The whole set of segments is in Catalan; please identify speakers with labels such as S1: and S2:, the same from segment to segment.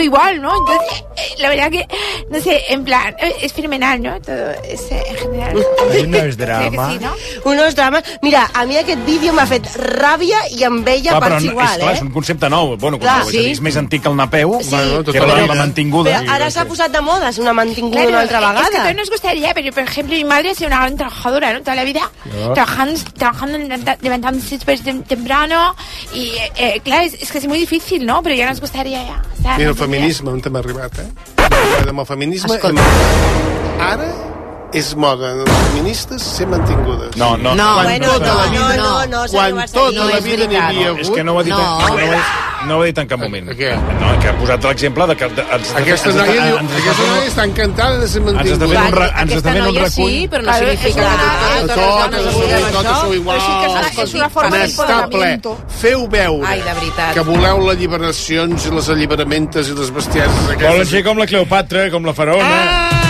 S1: igual, ¿no? Entonces, eh, la verdad que, no sé, en plan, eh, es fenomenal, ¿no? Todo es eh, en general.
S2: Ahí no es
S1: Creo que
S2: drama.
S1: sí, ¿no?
S3: Unos drames... Mira, a mi aquest vídeo m'ha fet ràbia i amb ella
S2: Clar, però
S3: parts
S2: no-
S3: igual,
S2: és, clar,
S3: eh?
S2: és un concepte nou. Bueno,
S3: Clar,
S2: clar, sí. és, a
S3: sí.
S2: dir, és més antic que el Napeu,
S3: Sí.
S2: bueno, que
S3: Però-
S2: la, la mantinguda.
S3: Però ara s'ha posat de moda, és una mantinguda
S1: Claro,
S3: una altra
S1: eh, es que a
S3: vegada.
S1: todos nos gustaría, pero por ejemplo, mi madre ha sido una gran trabajadora, ¿no? Toda la vida, trabajando, trabajando levanta- levantándose súper tem- temprano. Y eh, eh, claro, es, es que es muy difícil, ¿no? Pero ya nos gustaría ya.
S4: Ah,
S1: o sea,
S5: Mira, el
S1: nos gustaría.
S5: feminisme, on hem arribat, eh? Amb el feminisme... Escolta. Ara és moda. Les feministes ser mantingudes.
S2: No, no,
S4: No,
S2: quan
S4: bueno,
S2: tota
S4: no,
S2: la vida...
S4: no, no.
S3: senyor
S5: quan
S3: Barcelona.
S5: tota
S4: no
S5: la
S4: és
S5: vida n'hi
S4: veritat.
S5: havia
S2: És
S5: hagut...
S2: que no ho ha dit, eh?
S4: No.
S2: no. ho he- no ho ha dit en cap moment.
S5: Què?
S2: No, que ha posat l'exemple de que... De, ens,
S5: Aquesta
S2: ens-
S5: noia, diu,
S2: ens- ens-
S5: aquesta noia està encantada de ser
S2: ens està
S5: mantinguda.
S2: fent un, ra- ens està
S4: Aquesta
S2: fent un
S4: noia
S2: recull...
S4: sí, però no
S1: Claro,
S4: significa
S1: és
S4: que totes
S1: una-
S4: les
S5: Totes,
S4: dones
S5: avui,
S4: vulguem
S5: totes
S4: això.
S5: sou iguals.
S1: Però sí que és una- és una forma
S5: N'està ple.
S1: d'empoderamiento.
S5: Feu veure
S4: Ai, de veritat.
S5: que voleu les alliberacions i les alliberacions i les bestieses
S2: Volen
S5: aquestes.
S2: ser com la Cleopatra, com la faraona...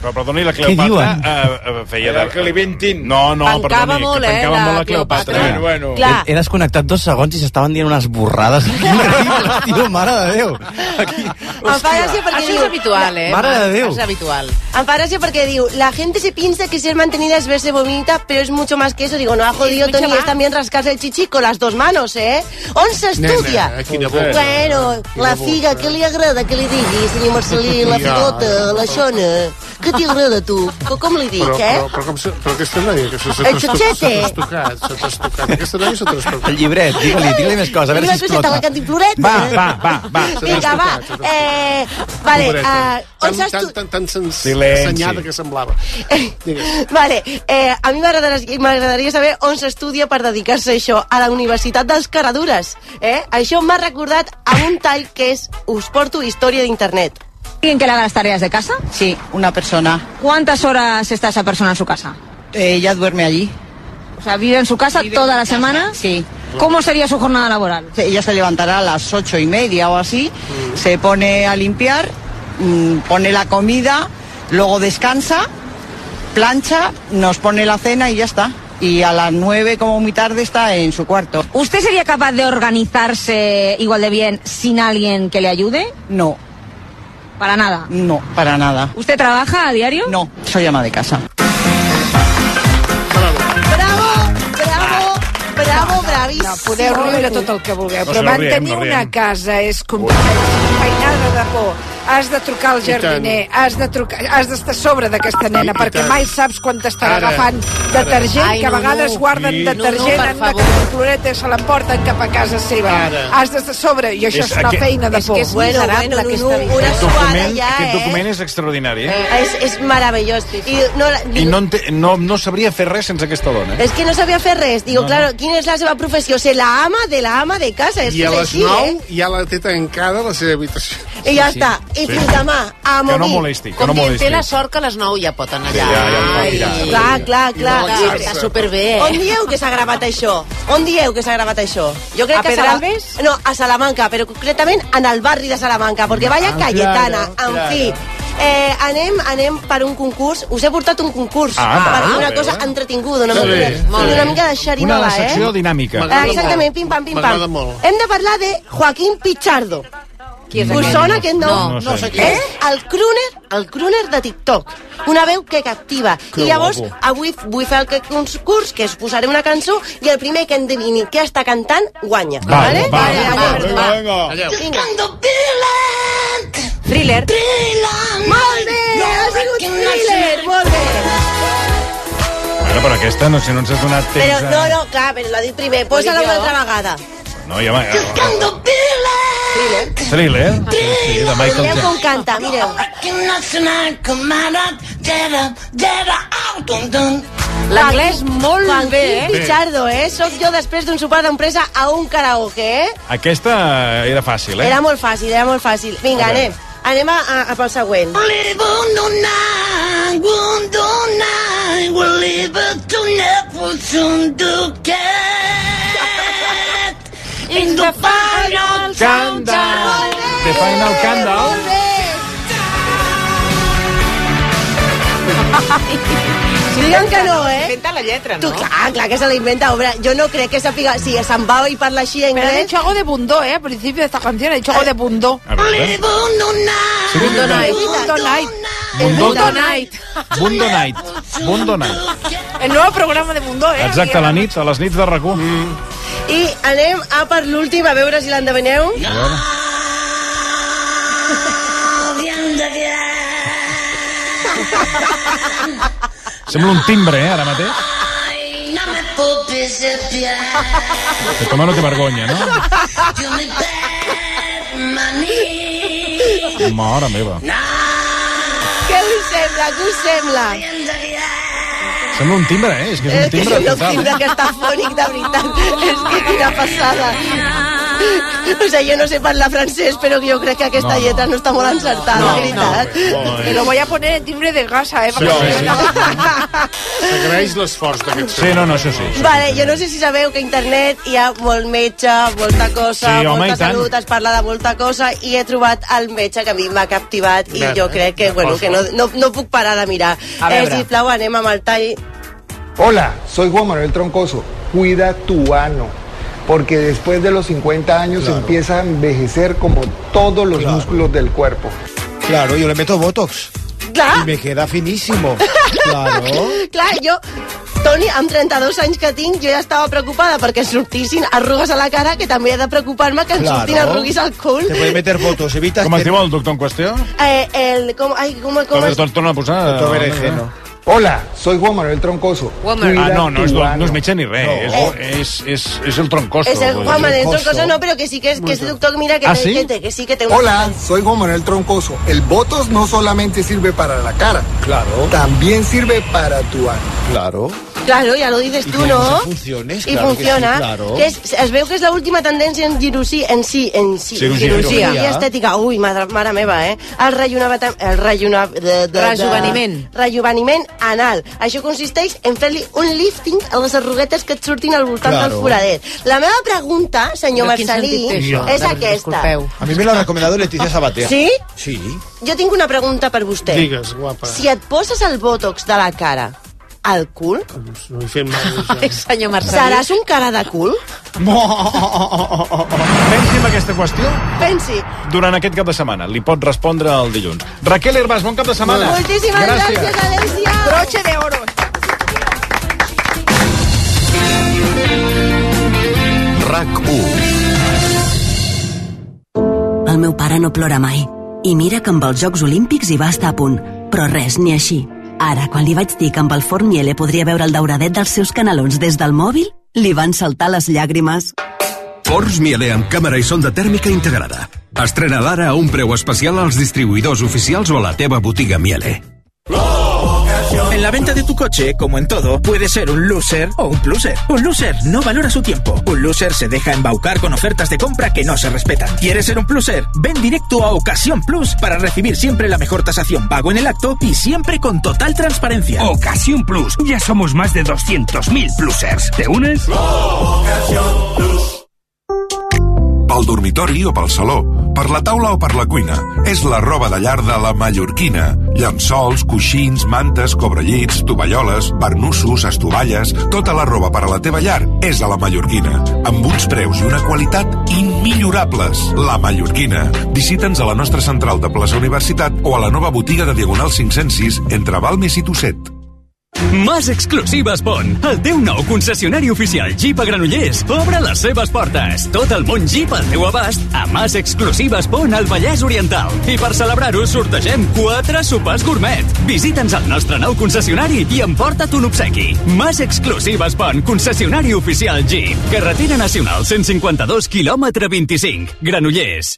S2: Però, perdoni, la Cleopatra
S6: diuen?
S2: eh, eh, feia de...
S7: Era que li ventin.
S2: No, no,
S4: Tancava
S2: perdoni,
S4: molt,
S2: que
S4: eh,
S2: tancava
S4: la
S2: molt la
S4: Cleopatra.
S2: Cleopatra.
S7: Bueno, bueno.
S4: Clar.
S6: He, he desconnectat dos segons i s'estaven dient unes borrades. Increïbles, tio, mare de Déu. Aquí,
S3: Em fa gràcia perquè
S4: Això
S3: diu...
S4: és habitual, eh?
S6: Mare de Déu.
S4: És habitual.
S3: Em fa gràcia perquè diu, la gente se piensa que ser mantenida es verse bonita, pero es mucho más que eso. Digo, no ha jodido
S1: mucho
S3: Tony,
S1: más.
S3: es también rascarse el chichi con las dos manos, ¿eh? On s'estudia?
S5: Nena, quina boca.
S3: Bueno, la figa, què li agrada que li digui, senyor Marcelí? La
S5: Ja.
S3: figota, la xona... Què t'hi agrada, a tu? Co- Com li dic,
S5: Però,
S3: eh?
S5: però, però, com, se- però aquesta noia que se s'ha
S3: El
S5: trastocat,
S3: xochete.
S5: s'ha trastocat, s'ha trastocat. Aquesta noia s'ha trastocat.
S6: El llibret, digue-li, digue-li més coses, a veure
S3: Una
S6: si
S3: coseta,
S6: explota.
S3: la cantimploreta.
S6: Va, va, va, va.
S3: eh? Vinga, va. Eh, vale,
S6: eh.
S3: uh, on
S5: Tan, tan,
S3: s'estudia?
S5: tan, tan sens...
S2: Silenci.
S5: assenyada que semblava. Digues.
S3: Vale, eh, a mi m'agradaria m'agradaria saber on s'estudia per dedicar-se a això, a la Universitat dels Caradures. Eh? Això m'ha recordat a un tall que és Us porto història d'internet.
S8: ¿Alguien que le haga las tareas de casa?
S4: Sí, una persona.
S8: ¿Cuántas horas está esa persona en su casa?
S4: Eh, Ella duerme allí.
S8: O sea, ¿vive en su casa toda la semana?
S4: Sí.
S8: ¿Cómo sería su jornada laboral?
S4: Ella se levantará a las ocho y media o así,
S8: Mm.
S4: se pone a limpiar, mm, pone la comida, luego descansa, plancha, nos pone la cena y ya está. Y a las nueve, como muy tarde, está en su cuarto.
S8: ¿Usted sería capaz de organizarse igual de bien sin alguien que le ayude?
S4: No,
S8: Para nada.
S4: no, para nada.
S8: Ah. ¿Usted trabaja a diario?
S4: No, soy ama de casa.
S3: Bravo, bravo, bravo, bravíssim.
S9: No, podeu riure tot el que vulgueu,
S2: No,
S9: però
S2: si no riem,
S9: mantenir
S2: no riem.
S9: una casa és complex, feinada de por. Has de trucar al jardiner, has de trucar, has d'estar a sobre d'aquesta nena,
S5: I
S9: perquè
S5: tant.
S9: mai saps quan t'estarà
S5: Ara,
S9: agafant detergent,
S4: Ai,
S9: que a
S4: Nunu.
S9: vegades guarden
S2: Sí.
S9: detergent,
S4: Nunu,
S9: en
S4: per
S9: la cloreta i se l'emporten cap a casa seva.
S5: Ara.
S9: Has d'estar a sobre, i això
S2: És
S9: és una
S2: aquest-
S9: feina de
S8: és
S9: por.
S8: que és
S3: Bueno,
S8: miserable
S3: bueno,
S8: aquesta
S3: Nunu,
S8: vida.
S3: una suada
S2: document,
S3: ja,
S2: aquest
S3: eh?
S2: document és extraordinari, eh?
S3: És, és meravellós. I, no,
S2: I no, ente- no, no sabria fer res sense aquesta dona. Eh?
S3: És que no sabia fer res. Digo, claro, quina és la seva professió? Ser la ama de la ama de casa. És
S5: I a
S3: que és
S5: les
S3: així,
S5: 9 ja la té tancada a la seva habitació.
S3: Eh? I ja està. I fins demà. A
S2: Que
S3: morir.
S2: no molesti, que
S4: Com
S2: no
S4: quien
S2: molesti.
S4: té la sort que a les 9 ja pot anar allà.
S2: Ja, ja em pot tirar.
S3: Clar, clar, clar.
S5: I
S4: Clar,
S5: relaxar-se.
S4: està superbé, eh?
S3: On dieu que s'ha gravat això? On dieu que s'ha gravat això? Jo crec
S9: A
S3: que
S9: Pedralbes?
S3: No, a Salamanca, però concretament en el barri de Salamanca, perquè vaya
S2: Ah,
S3: Cayetana, en fi. Eh, anem, anem per un concurs. Us he portat un concurs
S2: Ah, va,
S3: per una
S2: bé,
S3: cosa
S2: eh?
S3: entretinguda, una,
S5: Sí,
S3: mica,
S5: sí.
S3: una mica de
S2: Una
S3: xerinola,
S2: secció
S3: eh?
S2: dinàmica.
S5: M'agrada molt.
S3: Exactament, pim-pam, pim-pam.
S5: M'agrada molt.
S3: Hem de parlar de Joaquín Pichardo.
S4: Qui és
S3: Us
S4: aquest?
S3: sona aquest nom?
S4: No,
S2: No sé. no sé qui
S3: és. el crooner, el crooner de TikTok. Una veu que captiva.
S2: Que
S3: I llavors,
S2: guapo.
S3: avui vull fer el concurs, que us posaré una cançó, i el primer que endevini què està cantant, guanya.
S2: Va,
S3: vale?
S2: va,
S3: vale,
S2: va,
S3: d'acord.
S2: vinga, vinga.
S5: Allà.
S3: Vinga.
S4: Thriller.
S3: Molt bé, ha sigut thriller, molt bé.
S2: Bueno, però aquesta, no sé, no ens has donat temps...
S3: Però no,
S2: a-
S3: no, clar, però l'ha dit primer. Posa-la una altra vegada.
S2: No, ja... va- Thriller. Sí, de Michael
S3: Mireu
S2: Jackson.
S3: com canta, mireu.
S4: L'anglès molt
S3: Joaquín
S4: bé, eh?
S3: Pichardo, eh? Soc jo després d'un sopar d'empresa a un karaoke, eh?
S2: Aquesta era fàcil, eh?
S3: Era molt fàcil, era molt fàcil. Vinga,
S2: A veure.
S3: anem. Anem a, a, a pel següent. the final
S2: countdown. The final countdown.
S3: Diuen que no, eh?
S10: Inventa la lletra,
S3: Tu, clar, clar que se la inventa, obra. Jo no crec que sàpiga... Si se'n va i parla així en
S11: Pero ha
S3: anglès...
S11: dicho algo de bundó, ¿eh? Al principio de esta canción ha dicho algo de bundó.
S2: A eh? ver.
S11: Bundó night. Bundó night. El
S2: Bundó-
S11: Bundó night.
S2: Bundo Night. Bundo Night.
S11: El nuevo programa de bundó, ¿eh?
S2: Exacte, a la nit, a les nits de RAC1. Mm.
S3: I anem a per l'últim, a veure si l'endevineu.
S2: A veure. Sembla un timbre, eh, ara mateix. Que toma no té vergonya, no? Mare meva.
S3: Què us sembla? Què us sembla?
S2: Sembla un timbre, eh? És que és
S3: És
S2: un
S3: que
S2: timbre
S3: sembla un
S2: total.
S3: timbre que està fònic, de veritat. És que quina passada. O sea, yo no sé parlar francés, pero yo creo que aquesta
S2: No, no.
S3: lletra no està molt encertada,
S2: No,
S3: la veritat.
S5: no.
S11: Te lo voy a poner en timbre de gasa, ¿eh?
S5: Sí, sí. S'agraeix l'esforç d'aquest
S2: Sí, no, no, això sí.
S3: Vale, jo no sé si sabeu que a internet hi ha molt metge, molta cosa,
S2: Sí, home,
S3: molta
S2: i tant.
S3: salut, es parla de molta cosa, i he trobat el metge que a mi m'ha captivat i
S2: Bé,
S3: jo crec que, bueno,
S2: cosa.
S3: que no, no, no puc parar de mirar.
S12: A
S3: Eh,
S12: veure.
S3: sisplau, anem amb el tall.
S12: Hola, soy Juan Manuel Troncoso. Cuida tu ano, porque después de los 50 años empieza a envejecer como todos los músculos del cuerpo.
S13: Claro, yo le meto Botox.
S3: Clar.
S13: Y me queda finísimo. Claro.
S3: Clar, jo... Toni, amb 32 anys que tinc, jo ja estava preocupada perquè em sortissin arrugues a la cara, que també he de preocupar-me que em
S2: Claro.
S3: sortin arruguis al cul.
S2: Te puede meter votos, evitas... Com es diu el doctor en qüestió?
S3: Eh, el, com, ai, com, com es...
S2: torna a posar...
S13: Doctor Berenjeno. Hola,
S12: Soy Juan Manuel Troncoso.
S2: Ah, no, no és,
S12: tu
S2: do-
S12: ano.
S2: no és metge ni res,
S5: Oh.
S2: no. Eh, és, és, és, és el troncoso.
S3: Eh. Es el Juan Manuel
S12: Troncoso.
S3: Troncoso, no, pero que sí que es, que es doctor, mira, que,
S12: ¿Ah,
S3: te-
S12: sí?
S3: que, te- que sí que tengo...
S12: Hola, soy Juan Manuel Troncoso. El Botox no solamente sirve para la cara. Claro. También sirve para tu ano. Claro.
S3: Claro, ya lo dices tú,
S12: tiene
S3: ¿no?
S12: muchas funciones,
S3: y
S12: claro que sí,
S3: funciona.
S12: claro.
S3: Que es, es veu que és l'última tendència en cirurgia, en si, en si,
S12: Cirurgia.
S3: i estètica. Ui, madre, mare meva, eh? El rellenaveta- el rellena, de, de,
S10: Rejuveniment.
S3: De, rejuveniment anal. Això consisteix en fer-li un lifting a les arruguetes que et surtin al voltant
S13: Claro.
S3: del foradet. La meva pregunta, senyor
S13: Però quin
S3: Marcelí,
S13: sentit té això?
S3: és aquesta.
S13: A mí me lo ha recomendado Leticia Sabater.
S3: ¿Sí?
S13: Sí.
S3: Jo tinc una pregunta per vostè.
S13: Digues, guapa.
S3: Si et poses el botox de la cara al cul,
S5: No he fet mal.
S3: Ai,
S10: senyor
S2: Marcelí.
S3: seràs un cara de cul?
S2: Pensi en aquesta qüestió
S3: Pensi.
S2: durant aquest cap de setmana. Li pot respondre el dilluns. Raquel Herbàs, bon cap de setmana.
S3: Moltíssimes gràcies, gràcies Alessia. Broche de oro.
S14: RAC1
S15: El meu pare no plora mai. I mira que amb els Jocs Olímpics hi va estar a punt. Però res, ni així. Ara, quan li vaig dir que amb el Fort Miele podria veure el dauradet dels seus canalons des del mòbil, li van saltar les llàgrimes.
S16: Forns Miele amb càmera i sonda tèrmica integrada. Estrena d'ara a un preu especial als distribuïdors oficials o a la teva botiga Miele.
S17: En la venta de tu coche, como en todo, puede ser un loser o un pluser. Un loser no valora su tiempo. Un loser se deja embaucar con ofertas de compra que no se respetan. ¿Quieres ser un pluser? Ven directo a Ocasión Plus para recibir siempre la mejor tasación pago en el acto y siempre con total transparencia.
S7: Ocasión Plus. Ya somos más de 200.000 plusers. ¿Te unes?
S18: Pel dormitori o pel saló, per la taula o per la cuina. És la roba de llar de la mallorquina. Llençols, coixins, mantes, cobrellits, tovalloles, barnussos, estovalles... Tota la roba per a la teva llar és a la mallorquina. Amb uns preus i una qualitat immillorables. La mallorquina. Visita'ns a la nostra central de plaça Universitat o a la nova botiga de Diagonal 506 entre Balmes i Tosset.
S19: Mas Exclusives Bon, el teu nou concessionari oficial Jeep a Granollers, obre les seves portes. Tot el món Jeep al teu abast a Mas Exclusives Bon al Vallès Oriental. I per celebrar-ho sortegem quatre sopars gourmet. Visita'ns al nostre nou concessionari i emporta't un obsequi. Mas Exclusives Bon, concessionari oficial Jeep. Carretera Nacional 152, quilòmetre 25, Granollers.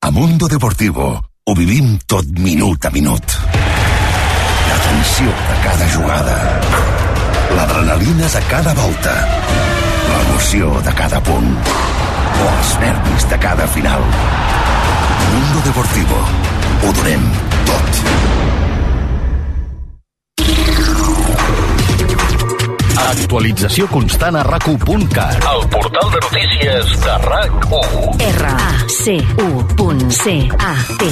S20: A Mundo Deportivo ho vivim tot minut a minut. La tensió de cada jugada, l'adrenalina de cada volta, l'emoció de cada punt o els nervis de cada final. Mundo Deportivo. Ho donem tot.
S21: Actualització constant a rac1.cat.
S10: El portal de notícies de RAC1.
S21: R A C U punt C A T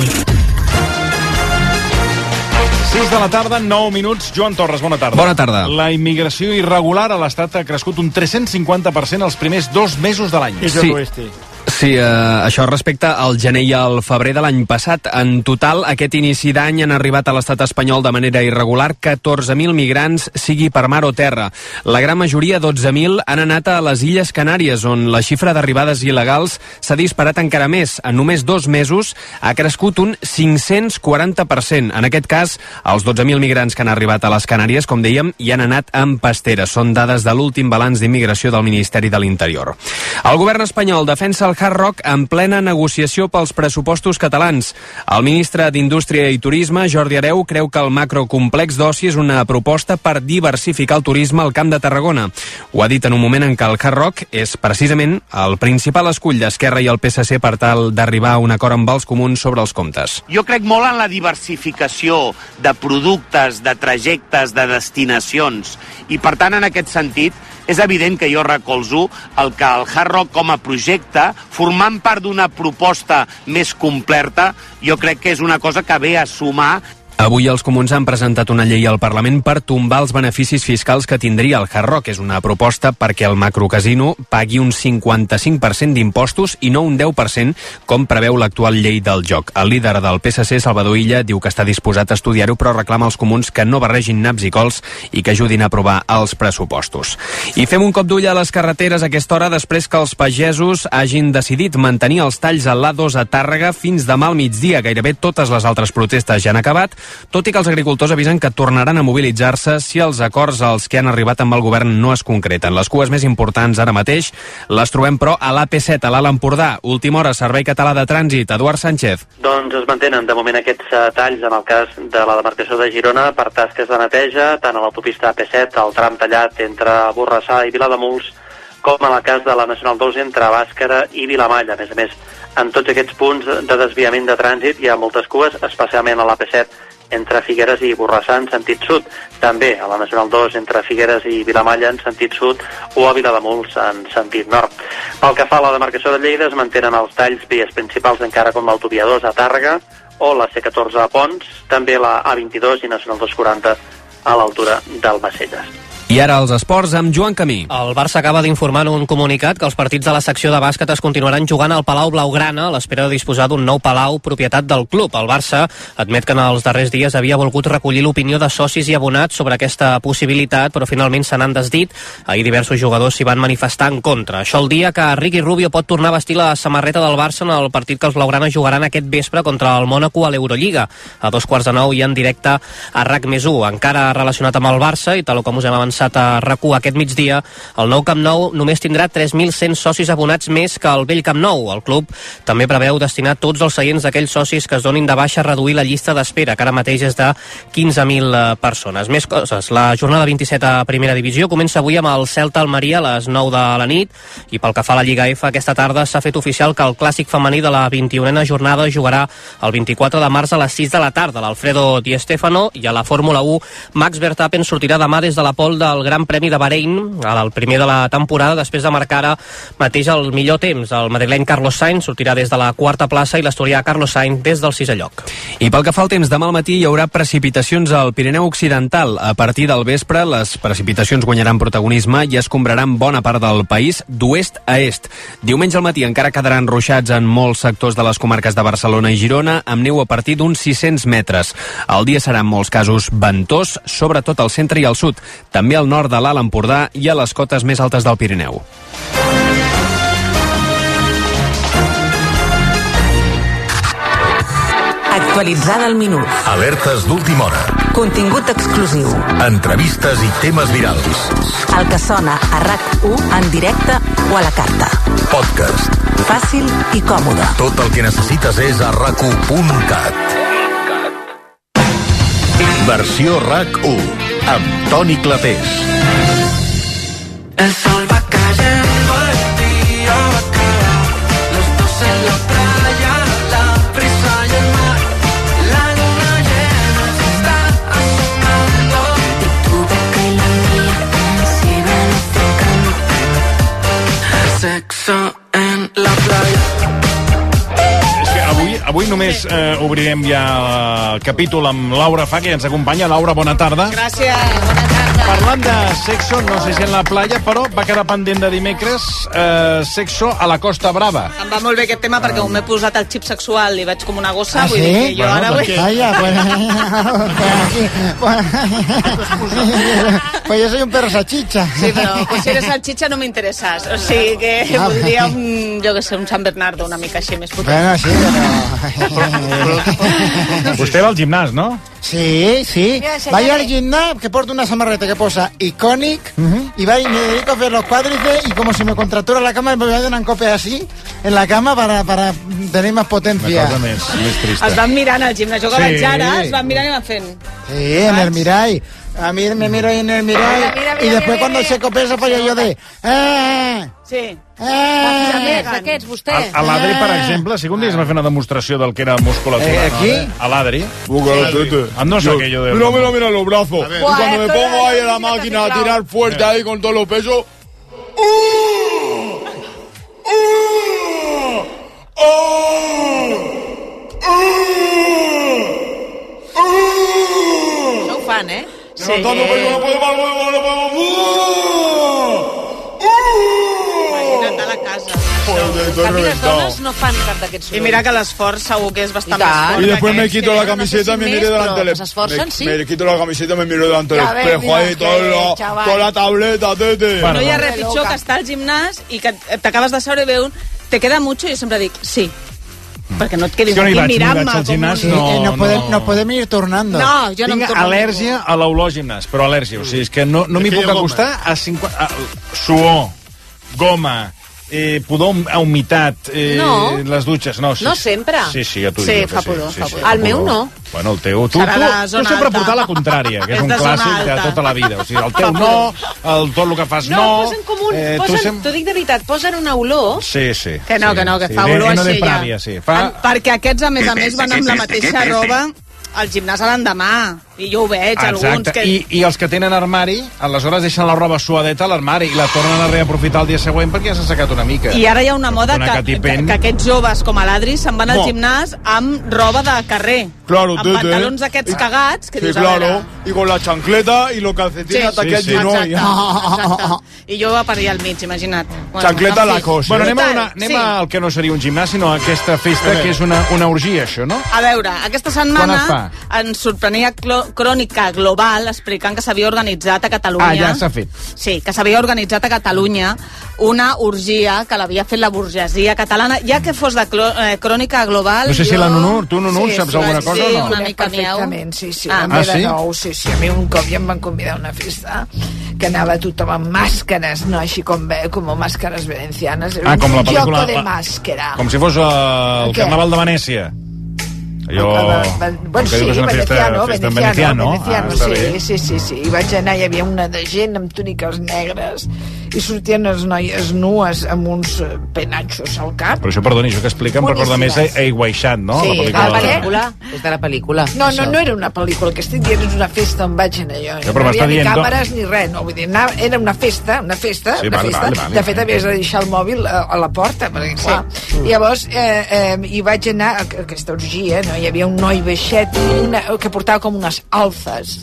S2: 6 de la tarda, 9 minuts. Joan Torres, bona tarda.
S22: Bona tarda.
S2: La immigració irregular a l'Estat ha crescut un 350% els primers dos mesos de l'any.
S22: És el Sí. oeste. Sí, eh, això respecte al gener i al febrer de l'any passat. En total, aquest inici d'any han arribat a l'estat espanyol de manera irregular 14.000 migrants, sigui per mar o terra. La gran majoria, 12.000, han anat a les Illes Canàries, on la xifra d'arribades il·legals s'ha disparat encara més. En només dos mesos ha crescut un 540%. En aquest cas, els 12.000 migrants que han arribat a les Canàries, com dèiem, hi han anat amb pastera. Són dades de l'últim balanç d'immigració del Ministeri de l'Interior. El govern espanyol defensa el Hard Rock en plena negociació pels pressupostos catalans. El ministre d'Indústria i Turisme, Jordi Areu, creu que el macrocomplex d'oci és una proposta per diversificar el turisme al Camp de Tarragona. Ho ha dit en un moment en què el Hard Rock és precisament el principal escull d'Esquerra i el PSC per tal d'arribar a un acord amb els comuns sobre els comptes.
S23: Jo crec molt en la diversificació de productes, de trajectes, de destinacions. I, per tant, en aquest sentit, és evident que jo recolzo el que el Hard Rock com a projecte, formant part d'una proposta més completa, jo crec que és una cosa que ve a sumar
S22: Avui els comuns han presentat una llei al Parlament per tombar els beneficis fiscals que tindria el Hard Rock. És una proposta perquè el macrocasino pagui un 55% d'impostos i no un 10%, com preveu l'actual llei del joc. El líder del PSC, Salvador Illa, diu que està disposat a estudiar-ho, però reclama als comuns que no barregin naps i cols i que ajudin a aprovar els pressupostos. I fem un cop d'ull a les carreteres a aquesta hora després que els pagesos hagin decidit mantenir els talls a l'A2 a Tàrrega fins demà al migdia. Gairebé totes les altres protestes ja han acabat, tot i que els agricultors avisen que tornaran a mobilitzar-se si els acords als que han arribat amb el govern no es concreten. Les cues més importants ara mateix les trobem, però, a l'AP7, a l'Alt Empordà. Última hora, Servei Català de Trànsit. Eduard Sánchez.
S24: Doncs es mantenen de moment aquests eh, talls en el cas de la demarcació de Girona per tasques de neteja, tant a l'autopista AP7, al tram tallat entre Borrassà i Vilademuls, com en el cas de la Nacional 2 entre Bàscara i Vilamalla. A més a més, en tots aquests punts de desviament de trànsit hi ha moltes cues, especialment a l'AP7 entre Figueres i Borrassà en sentit sud, també a la Nacional 2 entre Figueres i Vilamalla en sentit sud o a Vilademuls en sentit nord. Pel que fa a la demarcació de Lleida, es mantenen els talls vies principals encara com l'autovia 2 a Tàrrega o la C14 a Pons, també la A22 i Nacional 240 a l'altura d'Almacelles.
S22: I ara els esports amb Joan Camí.
S25: El Barça acaba d'informar en un comunicat que els partits de la secció de bàsquet es continuaran jugant al Palau Blaugrana a l'espera de disposar d'un nou palau propietat del club. El Barça admet que en els darrers dies havia volgut recollir l'opinió de socis i abonats sobre aquesta possibilitat, però finalment se n'han desdit. Ahir diversos jugadors s'hi van manifestar en contra. Això el dia que Ricky Rubio pot tornar a vestir la samarreta del Barça en el partit que els Blaugrana jugaran aquest vespre contra el Mónaco a l'Eurolliga. A dos quarts de nou i en directe a RAC més 1. Encara relacionat amb el Barça i tal com us hem avançat a rac aquest migdia, el nou Camp Nou només tindrà 3.100 socis abonats més que el vell Camp Nou. El club també preveu destinar tots els seients d'aquells socis que es donin de baixa a reduir la llista d'espera, que ara mateix és de 15.000 eh, persones. Més coses. La jornada 27 a Primera Divisió comença avui amb el Celta Almeria a les 9 de la nit i pel que fa a la Lliga F aquesta tarda s'ha fet oficial que el clàssic femení de la 21a jornada jugarà el 24 de març a les 6 de la tarda. L'Alfredo Di Stefano i a la Fórmula 1 Max Verstappen sortirà demà des de la pol del Gran Premi de Bahrein, el primer de la temporada, després de marcar ara mateix el millor temps. El madrileny Carlos Sainz sortirà des de la quarta plaça i l'astorià Carlos Sainz des del sisè lloc.
S22: I pel que fa al temps, demà al matí hi haurà precipitacions al Pirineu Occidental. A partir del vespre, les precipitacions guanyaran protagonisme i escombraran bona part del país d'oest a est. Diumenge al matí encara quedaran ruixats en molts sectors de les comarques de Barcelona i Girona, amb neu a partir d'uns 600 metres. El dia serà en molts casos ventós, sobretot al centre i al sud, també al nord de l'Alt Empordà i a les cotes més altes del Pirineu.
S21: Actualitzada al minut.
S20: Alertes d'última hora.
S21: Contingut exclusiu.
S20: Entrevistes i temes virals.
S21: El que sona a RAC1 en directe o a la carta.
S20: Podcast.
S21: Fàcil i còmode.
S20: Tot el que necessites és a rac1.cat. Versió RAC1 amb Toni Clapés.
S26: El sol va cayendo, el día va a acabar. Los dos en la playa, la brisa y el mar. La luna llena se está asomando. Y tu boca y la mía se
S1: sexo en la playa.
S2: És que avui, avui només eh, obrirem ja el capítol amb Laura Fa, que ens acompanya. Laura, bona tarda.
S4: Gràcies.
S2: Parlant de sexo, no sé si en la playa, però va quedar pendent de dimecres eh, sexo a la Costa Brava.
S4: Em va molt bé aquest tema perquè on m'he posat el xip sexual i vaig com una gossa, vull dir que jo
S2: Bueno,
S4: ara
S2: per
S4: vull...
S2: què?
S11: Vaya, pues, pues, pues yo soy un perro sachicha.
S4: Sí, però pues, si eres salchicha no m'interesses. O sigui que
S11: Ah,
S4: voldria un, jo que sé, un Sant Bernardo una mica així més potent.
S11: Bueno, sí,
S2: Vostè va al gimnàs, no?
S11: Sí, sí. Vaya al gimnasio que porta una samarreta que posa Iconic y va y me dedico a ver los cuádriceps y como si me contractura la cama me voy a dar una copia así en la cama para, para tener más
S2: Una
S11: potencia.
S2: cosa més, més
S4: Es
S2: trista.
S4: van mirant al gimnàs. Jo
S11: Sí.
S4: que vaig ara, es van mirant i van fent...
S11: Sí, en el Mirai. A mí me miro ahí en el Mirai
S4: Mira, mira, mira,
S11: y después
S4: mira,
S11: cuando
S4: mira.
S11: se copia se falla yo de... ¡Eh!
S4: Sí.
S11: Eh!
S4: Aquests, aquests, vostè.
S2: A- A l'Adri, per
S26: Ah.
S4: Ah.
S2: exemple, si un dia es va fer una demostració del que era musculatura.
S26: Eh, aquí?
S2: No? A l'Adri.
S26: Bucaratete.
S2: Ando
S26: Yo-
S2: aquello de...
S26: Mira, mira, mira los brazos.
S2: ver.
S26: Y
S2: Buah,
S26: cuando me
S2: esto era
S26: pongo
S2: la
S26: ahí en la
S2: música
S26: máquina a
S2: teclado.
S26: tirar
S5: Eh.
S26: fuerte ahí con todos los pesos.
S4: Això ho fan, eh?
S26: Levantando peso, no puedo más, no puedo más, no puedo más.
S4: Imagina't a la casa.
S26: estoy reventado.
S4: no fan cap d'aquests I mira que l'esforç segur que és bastant
S26: Y
S4: més fort.
S26: después
S4: que
S26: me
S4: aquells
S26: quito
S4: que
S26: la
S4: no sé
S26: camiseta y
S4: si
S26: me
S4: més,
S26: miro
S4: però
S26: delante del
S4: que s'esforcen, sí.
S26: me, me quito la camiseta y me miro delante del
S4: Ya ves,
S26: espejo
S4: mira
S26: ahí,
S4: que,
S26: todo lo-
S4: chaval.
S26: toda la tableta, tete.
S4: no hi ha res pitjor que estar al gimnàs i que t'acabes de seure i ve un... Te queda mucho? I jo sempre dic, sí. Perquè no et quedis
S2: Jo no hi
S4: aquí
S2: vaig, no hi
S4: mirant-me.
S2: vaig al
S4: com
S2: gimnàs,
S4: un-
S2: no.
S11: Eh, nos,
S2: no.
S11: podemos, nos podemos ir turnando.
S4: No, yo no me
S2: Tinc
S4: torno
S2: al·lèrgia a l'olor a gimnàs, però al·lèrgia. O sigui, és que no, no m'hi
S27: Aquella
S2: puc
S27: goma.
S2: acostar a, 50, a suor, goma, eh, pudor a humitat, eh,
S9: No.
S2: les dutxes. No, sí,
S9: No
S2: sí.
S9: sempre.
S2: Sí, sí, ja t'ho
S9: Sí,
S2: dic.
S9: fa pudor, fa pudor. El meu no.
S2: Bueno, el teu... Tu, tu,
S9: Serà de
S2: tu
S9: zona
S2: sempre
S9: alta.
S2: portar la contrària, que és,
S9: És
S2: un
S9: de zona
S2: clàssic de
S9: alta.
S2: tota la vida. O sigui, el teu no, el tot el que fas no...
S9: No, posen com un... Eh,
S2: tu
S9: posen,
S2: sem-
S9: T'ho dic de veritat, posen una olor...
S2: Sí, sí.
S4: Que no,
S2: sí,
S4: que no, que
S2: sí.
S4: fa
S2: De-
S4: olor
S2: no de
S4: així ja.
S2: prària, sí. Fa...
S4: En- Perquè aquests, a més a més, van amb la mateixa roba al gimnàs a l'endemà. I jo ho veig, alguns
S2: Ah, Exacte,
S4: que...
S2: I, i els que tenen armari, aleshores deixen la roba suadeta a l'armari i la tornen a reaprofitar el dia següent perquè ja s'ha secat una mica.
S4: I ara hi ha una moda
S2: Una
S4: que, que,
S2: catipen.
S4: que aquests joves, com a l'Adri, se'n van al
S2: Bo.
S4: gimnàs amb roba de carrer.
S26: Claro,
S4: amb
S26: tete.
S4: pantalons aquests cagats, que
S26: Sí,
S4: dius, a
S26: claro.
S4: veure...
S26: Y con la chancleta y los calcetines hasta aquí al
S4: exacte,
S26: ginoll.
S4: exacte. I jo va per allà al mig, imagina't.
S26: Chancleta
S4: en fi.
S26: Lacoste,
S2: Bueno,
S26: eh?
S2: anem, a
S4: Total,
S2: una, anem
S4: sí.
S2: sí. al que no seria un gimnàs, sinó a aquesta festa, que és una, una orgia, això, no?
S4: A veure, aquesta
S2: Quan
S4: setmana ens sorprenia Clo- Crònica Global explicant que s'havia organitzat a Catalunya...
S2: Ah, ja s'ha fet.
S4: Sí, que s'havia organitzat a Catalunya una orgia que l'havia fet la burgesia catalana, ja que fos de clo- eh, Crònica Global...
S2: No sé si
S4: jo-
S2: la Nunur, tu, Nunur, saps alguna cosa o
S4: sí,
S2: no?
S4: una mica miau.
S9: Perfectament, sí, sí.
S4: Ah.
S9: Ah,
S2: Ah,
S9: ah
S2: sí?
S9: sí? Nou, sí, sí. A mi un cop ja em van convidar a una festa que anava tothom amb màscares, no així com, ve- com màscares valencianes. Era
S2: Ah, com la
S9: un
S2: pel·lícula-
S9: Joco de
S2: la-
S9: màscara.
S2: Com si fos eh, el
S9: Què?
S2: Carnaval de Venècia. Allò...
S9: Bueno,
S2: que
S9: sí,
S2: diu que és una festa-
S9: veneciano,
S2: festa en
S9: veneciano,
S2: Ah,
S9: veneciano,
S2: està
S9: sí,
S2: bé.
S9: sí, sí, sí. I vaig anar, hi havia una de gent amb túniques negres i sortien les noies nues amb uns eh, penatxos al cap.
S2: Però això, perdoni, això que explica em recorda més a, a Iguaixant, no?
S9: Sí,
S2: la
S9: ah,
S2: pel·lícula...
S9: perquè-
S4: És de la pel·lícula.
S9: No, no, no era una pel·lícula, que estic dient és una festa on vaig anar jo.
S2: Ja, però
S9: no
S2: m'està
S9: havia ni
S2: dient,
S9: càmeres ni res, no, vull dir, anar, era una festa, una festa,
S2: Sí,
S9: una
S2: vale,
S9: festa.
S2: vale, vale,
S9: de fet, havies de deixar el mòbil a, a la porta, perquè, clar. Sí. Llavors, eh, eh, hi vaig anar a a aquesta orgia, no? hi havia un noi baixet una, que portava com unes alfes,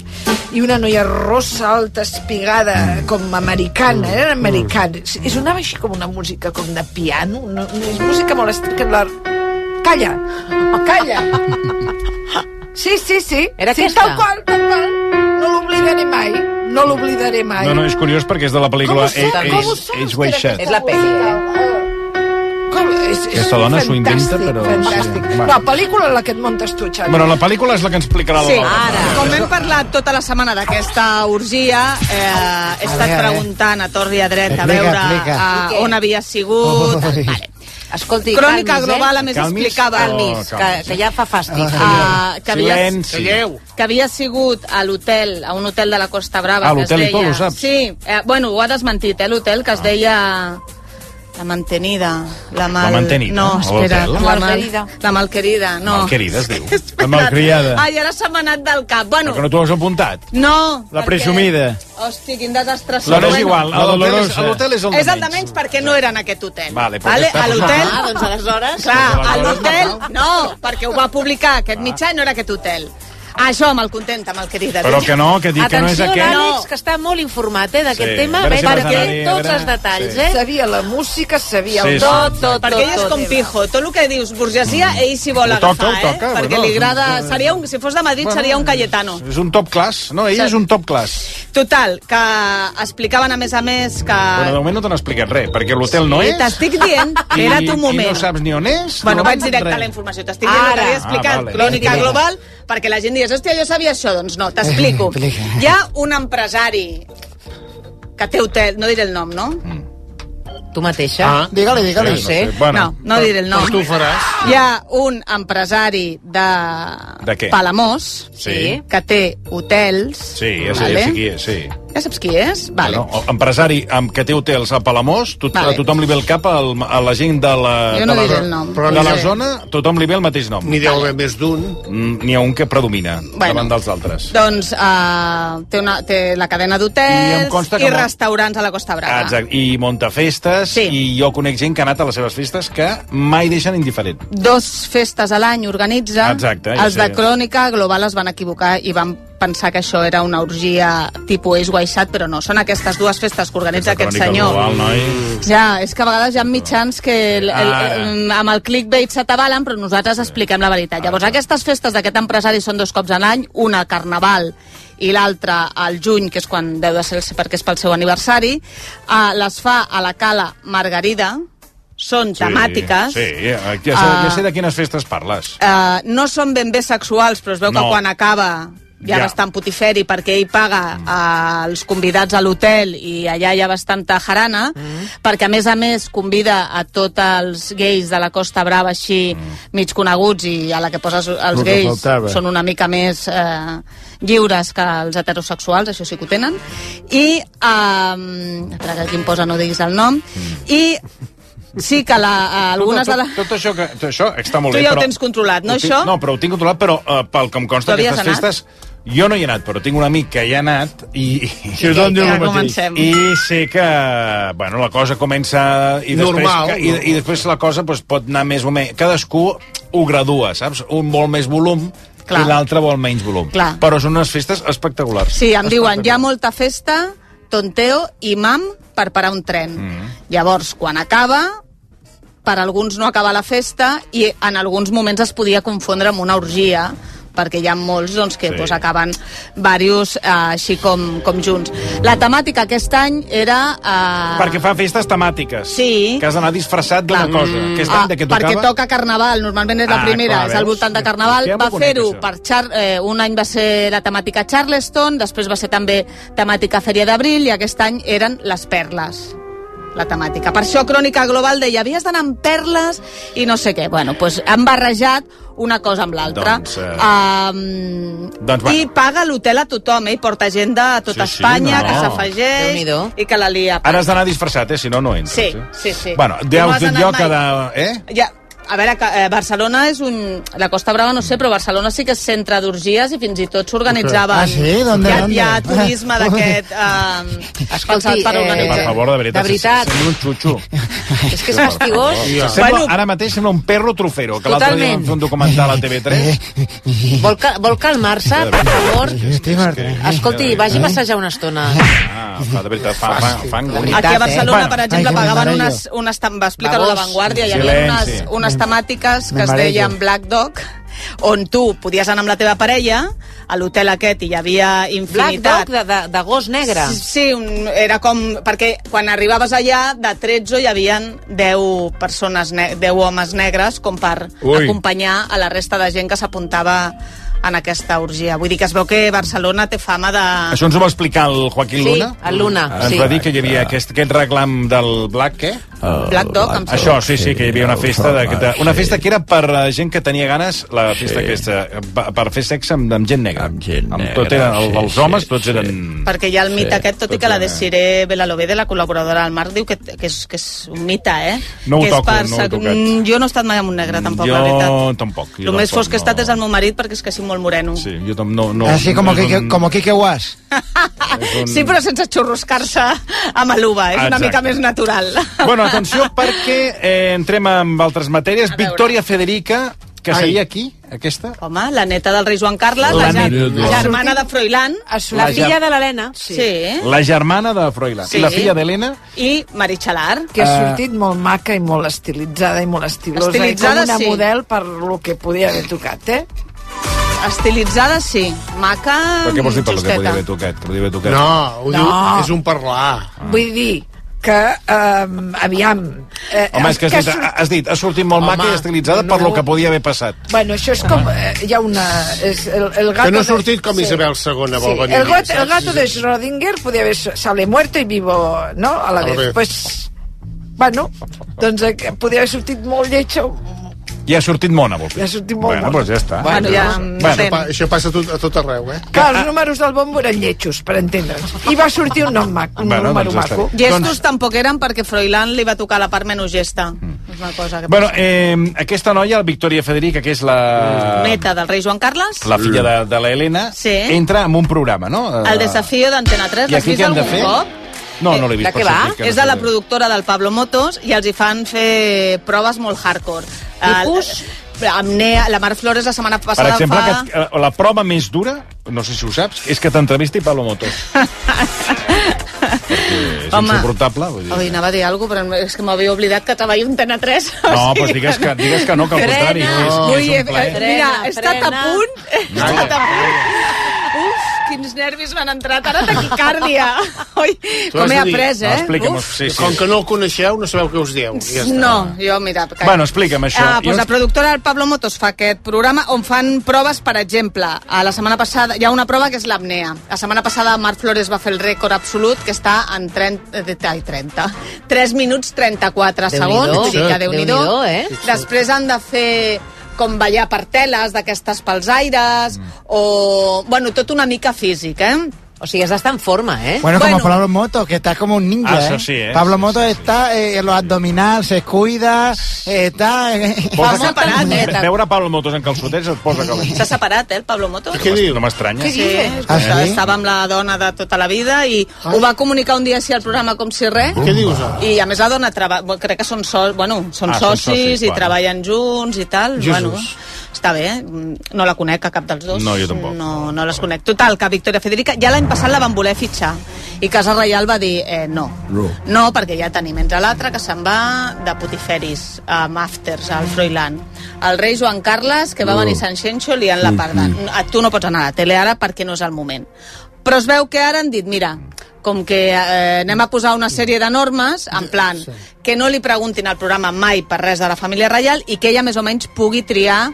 S9: i una noia rossa, alta, espigada, com
S2: Mm.
S9: americana, era americana. I sonava així com una música com de piano, una, una música molt estricta, Calla!
S28: Oh,
S9: Calla! Sí, sí, sí. Era sí,
S4: aquesta?
S9: Tal qual, tal qual. No l'oblidaré mai. No l'oblidaré mai.
S2: No, no, és curiós perquè és de la pel·lícula
S9: Com ho saps? Com ho saps?
S2: Iguaixant.
S9: És la pel·li, eh? Com? És, és
S2: Aquesta dona s'ho inventa, però-
S9: Fantàstic.
S2: Sí, va.
S9: Sí. No, pel·lícula en la que et muntes tu, Xavi.
S2: Bueno, la pel·lícula és la que ens explicarà la
S4: Sí,
S2: Laura.
S4: ara. Com hem parlat tota la setmana d'aquesta orgia, eh, he estat
S9: veure, eh?
S4: preguntant a torn i a dret a
S9: Explica,
S4: veure
S9: explica.
S4: eh, on havia
S2: Oh,
S4: sigut. Vale.
S9: Escolti,
S4: Crònica
S9: calmis, eh?
S4: Global, a més,
S9: Calmis?
S4: explicava...
S9: Calmis, Oh, calmis. que- que ja fa fàstic.
S4: Ah, que, havia,
S2: Silenci. Calleu.
S4: que havia sigut a l'hotel, a un hotel de la Costa Brava,
S2: Ah,
S4: que es
S2: l'hotel i
S29: tot,
S4: deia...
S29: ho saps?
S2: Ah.
S4: Sí, eh, bueno, ho ha desmentit, eh, l'hotel, que es deia... La mantenida, la mal...
S2: mantenida,
S4: No,
S2: o
S4: espera,
S2: l'hotel.
S4: la malquerida. La malquerida, no.
S2: Malquerida es diu. La malcriada.
S4: Ai, ara se m'ha anat del cap. Bueno,
S2: Que no t'ho has apuntat.
S4: no.
S2: La
S4: perquè-
S2: presumida.
S4: Hosti, quin desastre.
S2: La no és igual, la dolorosa.
S4: És el de menys perquè no era en aquest hotel.
S2: Vale, però
S4: vale?
S2: ja està.
S4: A l'hotel...
S2: Ah,
S4: doncs aleshores... Clar, a
S2: Aleshores Ah.
S4: l'hotel... No, perquè ho va publicar aquest mitjà i no era aquest hotel. Això me'l contenta, mal querida.
S2: Però que no, que dic que no és
S3: Atenció,
S2: aquest.
S3: l'Àlex, que està molt informat eh, d'aquest
S2: Sí,
S3: tema,
S2: a veure si vas
S3: perquè
S2: anar-hi, a
S3: tots
S2: veure.
S3: els detalls,
S2: Sí.
S3: eh?
S28: Sabia la música, sabia
S2: Sí, el sí.
S4: Tot,
S2: tot,
S4: tot, perquè ell és com pijo. Tot el que dius burgesia, ell s'hi vol
S2: Ho
S4: agafar,
S2: toca, ho toca,
S4: eh? Perquè
S2: bueno,
S4: li
S2: és un-
S4: agrada... Seria un, si fos de Madrid,
S2: Bueno,
S4: seria un Cayetano.
S2: És un top class. No, ell
S4: Sí.
S2: és un top class.
S4: Total, que explicaven, a més a més, que...
S2: Però de moment no t'han explicat res, perquè l'hotel no
S4: Ah. Sí,
S2: és...
S4: T'estic dient,
S2: I-
S4: espera't un moment.
S2: I no saps ni on és.
S4: Bueno,
S2: no
S4: vaig directe
S2: res.
S4: a la informació. T'estic dient el
S2: Ara.
S4: que havia
S2: Ah,
S4: explicat,
S2: vale.
S4: Crònica
S2: Explica.
S4: Global, perquè la gent digués, hòstia, jo sabia això. Doncs no, t'explico. Hi ha un empresari que té hotel, no diré el nom, no?
S2: Mm.
S3: Tu mateixa.
S4: Ah, digue-li, digue-li.
S3: No sé.
S4: No, no diré el nom.
S3: Doncs tu ho faràs.
S4: Hi ha un empresari de,
S2: De què?
S4: Palamós
S2: Sí.
S4: que té hotels.
S2: Sí, ja sé, ja sé qui és, sí.
S4: Ja saps qui és? Vale.
S2: No, el empresari amb que té hotels a Palamós, tot,
S4: Vale.
S2: a tothom li ve el cap al, a la gent de la,
S4: Jo no
S2: de la,
S4: diré el nom.
S2: però
S4: No
S2: de la
S4: sé.
S2: zona, tothom li ve el mateix nom. N'hi deu haver més d'un. N'hi ha un que predomina
S4: Bueno.
S2: davant dels altres.
S4: Doncs uh, té, una, té la cadena
S2: I em
S4: d'hotels
S2: consta
S4: i,
S2: que molt-
S4: restaurants a la Costa Brava.
S2: Ah, Exacte. I monta festes, sí. i jo conec gent que ha anat a les seves festes que mai deixen indiferent.
S4: Dos festes a l'any organitza.
S2: Exacte, ja
S4: Els
S2: sé.
S4: de Crònica Global es van equivocar i van pensar que això era una orgia tipus Eix Guaixat, però no. Són aquestes dues festes que organitza aquest
S2: Crònica
S4: senyor.
S2: Global, noi.
S4: Ja, és que a vegades hi ha mitjans que el, el,
S2: Ara.
S4: el, amb el clickbait s'atabalen, però nosaltres expliquem la veritat. Llavors, aquestes festes d'aquest empresari són dos cops a l'any, una al Carnaval i l'altra al juny, que és quan deu de ser el- perquè és pel seu aniversari, eh, les fa a la Cala Margarida, són temàtiques,
S2: Sí, sí. Ja, sé, ja
S4: Ah.
S2: sé de quines festes parles.
S4: eh, no són ben bé sexuals, però es veu
S2: No.
S4: que quan acaba hi ha
S2: Ja.
S4: bastant putiferi perquè ell paga eh, els convidats a l'hotel i allà hi ha bastanta jarana, perquè a més a més convida a tots els gais de la Costa Brava així mig coneguts i a la que poses els
S11: El que
S4: gais
S11: faltava.
S4: són una mica més eh, lliures que els heterosexuals, això sí que ho tenen, i... Eh, espera, que aquí em posa no diguis el nom, i sí que la, algunes de
S2: tot,
S4: les...
S2: tot, tot, això que, tot això està molt
S4: Tu
S2: bé,
S4: ja ho
S2: però...
S4: tens controlat, no,
S2: Ho tinc-
S4: això?
S2: No, però ho tinc controlat, però uh, pel que em
S4: Tu
S2: consta
S4: havies
S2: aquestes festes... Jo no hi he anat, però tinc un amic que hi ha anat i...
S4: Sí, us vam dir Ja el mateix. comencem.
S2: I sé que, bueno, la cosa comença... I després,
S5: Normal,
S2: que, i, I després la cosa doncs, pot anar més o menys... Cadascú ho gradua, saps? Un vol més volum
S4: Clar.
S2: i l'altre vol menys volum.
S4: Clar.
S2: Però són unes festes espectaculars.
S4: Sí, ah. em diuen, hi ha molta festa, tonteo i mam per parar un tren. Mm. Llavors, quan acaba, per alguns no acaba la festa i en alguns moments es podia confondre amb una orgia perquè hi ha molts doncs, que
S3: Sí.
S4: doncs, acaben diversos eh, així com, com junts. La temàtica aquest any era... Eh,
S2: Perquè fan festes temàtiques.
S4: Sí.
S2: Que has d'anar disfressat d'una cosa. Mm. Aquest any de què tocava...
S4: Ah, perquè toca Carnaval, normalment és la
S2: Ah,
S4: primera,
S2: clar,
S4: és al
S2: veus?
S4: voltant de Carnaval.
S2: Ja m'ho
S4: Va
S2: conec,
S4: fer-ho
S2: això.
S4: per Char eh, un any va ser la temàtica Charleston, després va ser també temàtica Fèria d'Abril i aquest any eren les perles la temàtica. Per això Crònica Global deia havies d'anar amb perles i no sé què. Bueno, doncs han barrejat una cosa amb l'altra.
S2: Doncs, eh,
S4: Um,
S2: doncs, bueno.
S4: I paga l'hotel a tothom, eh? Porta gent de tot
S2: Sí, sí,
S4: Espanya,
S2: no.
S4: que s'afegeix i que la lia.
S2: Ara has d'anar disfressat, eh? Si no, no entres.
S4: Sí,
S2: Eh?
S4: sí, sí.
S2: Bueno,
S4: Tu
S2: ja
S4: no
S2: us
S4: has
S2: dic
S4: anat
S2: jo
S4: mai.
S2: que... De... Eh?
S4: Ja, a veure, que, eh, Barcelona és un... La Costa Brava no sé, però Barcelona sí que és centre d'orgies i fins i tot s'organitzaven...
S11: Ah, sí? D'on,
S4: hi, ha,
S11: d'on?
S4: hi ha turisme d'aquest... Eh, pensat per organitzar.
S2: Per favor, de veritat.
S3: de veritat.
S2: Sembla un xutxo.
S3: És que és fastigós.
S2: Ja. Sembla, ara mateix sembla un perro trofero, que l'altre dia
S3: Totalment.
S2: vam fer un documental a TV3.
S3: Vol, cal vol calmar-se, per favor. Escolti, vagi a
S2: Eh?
S3: passejar una estona.
S2: Ah, fa, de veritat, fa, fa, fa angúnia.
S4: Aquí a Barcelona,
S3: eh?
S4: per exemple,
S2: Ai, que
S4: pagaven
S2: m'embarallo.
S4: unes, unes tam- va explicar la
S2: Vamos.
S4: Vanguardia, hi havia
S2: Silenci.
S4: unes, unes temàtiques que es
S2: m'embarallo.
S4: deien Black Dog, on tu podies anar amb la teva parella a l'hotel aquest i hi havia
S3: Black
S4: infinitat
S3: Dog de, de, de gos negre.
S4: Sí, sí, un, era com... Perquè quan arribaves allà, de 13 hi havien 10 persones, ne 10 homes negres, com per
S3: Ui.
S4: acompanyar a la resta de gent que s'apuntava en aquesta orgia. Vull dir que es veu que Barcelona té fama de...
S2: Això ens ho va explicar el Joaquín
S4: Sí,
S2: Luna.
S4: el Luna,
S2: Ens
S4: sí.
S2: va dir que hi havia aquest, aquest reclam del Black, què? El-
S4: Black Dog, em sembla.
S2: Això, sí, sí, que hi havia una festa de, una festa que era per la gent que tenia ganes, la festa aquesta, pa- per fer sexe amb, amb gent negra. Amb gent negra, tot eren, el,
S1: sí,
S2: els homes tots eren...
S4: Perquè hi ha el mite
S2: Mm. Sí,
S4: aquest, tot i que la Desiré Belalobede, la col·laboradora del Marc, diu que, que, és, que és un mite, eh?
S2: No ho
S4: que és
S2: toco, no ho he
S4: sec-
S2: tocat.
S4: Mm, Jo no he estat mai amb un negre, tampoc, la
S2: jo
S4: veritat.
S2: tampoc. jo
S4: El més
S2: tampoc
S4: fosc que he estat és el meu marit, perquè és que sí, molt moreno.
S2: Sí, jo tam no, no,
S11: Así como,
S2: no és
S11: Quique,
S2: un-
S11: como Quique Guas.
S2: un-
S4: Sí, però sense xurroscar-se amb l'uva, és una
S2: Exacte.
S4: mica més natural.
S2: Bueno, atenció, perquè eh, entrem en altres matèries. Victòria Federica, que
S4: Ai.
S2: seria aquí, aquesta?
S4: Home, la neta del rei Joan Carles,
S2: La
S4: la, ja-
S2: neta.
S4: la germana de Froilán,
S2: La filla ger- de
S4: l'Helena. Sí. sí.
S2: La germana de Froilán.
S4: Sí.
S2: La filla d'Helena.
S4: I Maritxalar.
S28: que ha
S2: Eh,
S28: sortit molt maca i molt estilitzada i molt estilosa
S4: Estilitzada,
S28: i com una
S4: sí.
S28: model per lo que podia haver tocat, eh?
S4: Estilitzada, sí. Maca,
S2: Però què vols dir per lo que
S4: justeta.
S2: podia haver tocat? Que podia haver tocat?
S5: No, ho diu,
S28: No.
S5: és un parlar.
S28: Vull dir que, um, aviam... Eh,
S2: Home, és que has
S28: ha
S2: dit,
S28: sortit-
S2: has dit, ha sortit molt
S28: Home,
S2: maca i estilitzada per
S28: no.
S2: lo que podia haver passat.
S28: Bueno, això és com... Eh, hi ha una... És el, el gato
S5: Que no ha
S28: de-
S5: sortit com Isabel II vol venir.
S28: el, gat,
S5: saps?
S28: el gato de Schrödinger podia haver sale muerto y vivo, ¿no? A
S5: A la
S28: la vez.
S5: vez.
S28: Pues, bueno, doncs eh, que podia haver sortit molt lletja.
S2: I ha sortit mona, vol dir.
S28: I ha sortit molt
S2: bueno, pues-
S28: mona.
S2: Doncs ja està.
S28: Bueno, ja,
S5: Això,
S28: depèn.
S5: pa, això passa a tot, a tot arreu, eh?
S28: Que els números del bombo eren lletjos, per entendre'ns. I va sortir un nom mac, un
S2: Bueno,
S28: número
S2: doncs està
S28: maco.
S2: bé.
S4: Gestos tampoc eren perquè Froilán li va tocar la part menys gesta. És una cosa que
S2: Bueno,
S4: passa.
S2: eh, aquesta noia, la Victòria Federica, que és la,
S4: Neta del rei Joan Carles,
S2: la filla de, de la Helena,
S4: Mm, Sí.
S2: entra en un programa, no? Eh,
S4: el desafío d'Antena 3,
S2: I
S4: l'has
S2: aquí
S4: vist
S2: què hem de
S4: algun
S2: fer?
S4: cop?
S2: No, no l'he vist. per sort, que no
S4: És de
S2: sé
S4: la
S2: de-
S4: productora del Pablo Motos i els hi fan fer proves molt hardcore. Tipus? Amb Nea, la Mar Flores la setmana
S2: Per
S4: passada
S2: exemple,
S4: fa...
S2: que, eh, la prova més dura, no sé si ho saps, és que t'entrevisti Pablo Motos. Perquè és
S4: Home.
S2: insuportable. Vull dir.
S4: Oi, anava a dir alguna cosa, però és que m'havia oblidat que treballo en Tena 3.
S2: No, doncs digues que- digues que no, que al Frena, contrari, és- és
S4: Ui,
S2: un
S4: he-
S2: plaer.
S4: Mira,
S3: Frena,
S4: he estat a
S3: frena.
S4: punt, he estat a punt. Uf, quins nervis m'han entrat, ara taquicàrdia. Oi,
S5: Tu has
S4: com he
S5: de dir-
S4: après, eh?
S2: Explica'm-ho, sí, sí.
S5: Com que no el coneixeu, no sabeu què us dieu. Ja està.
S4: No, jo, mira... Que...
S2: eh? Bueno, explica'm això.
S4: Ah,
S2: Jo-
S4: doncs la productora del Pablo Motos fa aquest programa on fan proves, per exemple, a la setmana passada hi ha una prova que és l'apnea. La setmana passada Marc Flores va fer el rècord absolut que està en 30, eh, ai, 30 3 minuts 34
S3: Déu-n'hi-do.
S4: segons, vull dir que Déu-n'hi-do.
S3: Déu-n'hi-do, eh?
S4: Després han de fer com ballar per teles d'aquestes pels
S2: Mm.
S4: aires, o... Bueno, tot una mica físic, eh?
S3: O sigui, has d'estar en forma, eh?
S11: Bueno, como Pablo Moto, que está como un ninja.
S2: Ah, eso
S11: ¿eh?
S2: sí, ¿eh?
S11: Pablo Moto está eh, en los abdominales, se cuida, eh, está. eh,
S2: Posa
S11: fa molta eh,
S2: que-
S11: dieta.
S2: Ve- Veure Pablo Motos en calçotets et posa calent.
S4: S'ha separat, eh, el Pablo Motos?
S2: Què diu? No m'estranya.
S4: Sí,
S2: Ah,
S4: estava,
S5: Eh?
S2: sí?
S4: estava amb la dona de tota la vida i ho va comunicar un dia així al programa com si res.
S5: Què dius, ara?
S4: I a més la dona traba... bueno, crec que són so... bueno, són
S5: Ah, són
S4: socis,
S5: socis,
S4: i
S5: bueno.
S4: treballen junts i tal.
S5: Jesús.
S4: Bueno, està bé, eh? Mm, no la conec a cap dels dos.
S2: No, jo tampoc.
S4: No, no les conec. Total, que Victoria Federica ja l'any passat la van voler fitxar i Casa Reial va dir eh, no. No, perquè ja tenim entre l'altre que se'n va de putiferis a Mafters, al Froilán. El rei Joan Carles, que va
S3: Mm.
S4: venir a Sant Xenxo, liant la parda. A tu no pots anar a la tele ara perquè no és el moment. Però es veu que ara han dit, mira, com que eh, anem a posar una sèrie de normes, en plan, que no li preguntin al programa mai per res de la família reial i que ella més o menys pugui triar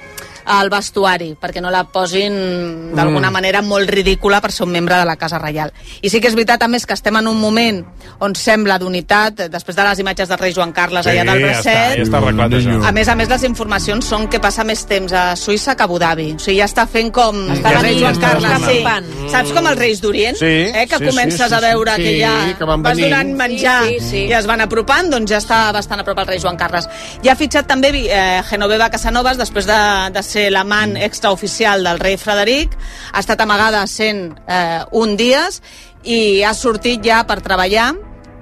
S4: el vestuari, perquè no la posin d'alguna
S3: Mm.
S4: manera molt ridícula per ser un membre de la Casa Reial. I sí que és veritat, a més, que estem en un moment on sembla d'unitat, eh, després de les imatges del rei Joan Carles allà del
S2: ja està,
S4: bracet,
S2: ja està arreglat, això.
S4: a més a més, les informacions són que passa més temps a Suïssa que a Abu Dhabi. O sigui, ja està fent com...
S5: Està
S4: el rei
S5: venint,
S4: Joan
S5: està
S4: Carles, sí.
S5: escampant.
S4: Saps com els reis d'Orient?
S5: Sí,
S4: eh? Que
S5: sí,
S4: comences
S5: sí, sí,
S4: a veure
S5: sí.
S4: que ja
S5: Sí, que van
S4: vas
S5: venint.
S4: donant menjar
S5: Sí, sí, sí.
S4: i es van apropant, doncs ja està bastant a prop el rei Joan Carles. Ja ha fitxat també eh, Genoveva Casanovas, després de, de ser
S5: Mm.
S4: l'amant extraoficial del rei Frederic. Ha estat amagada 101 dies i ha sortit ja per treballar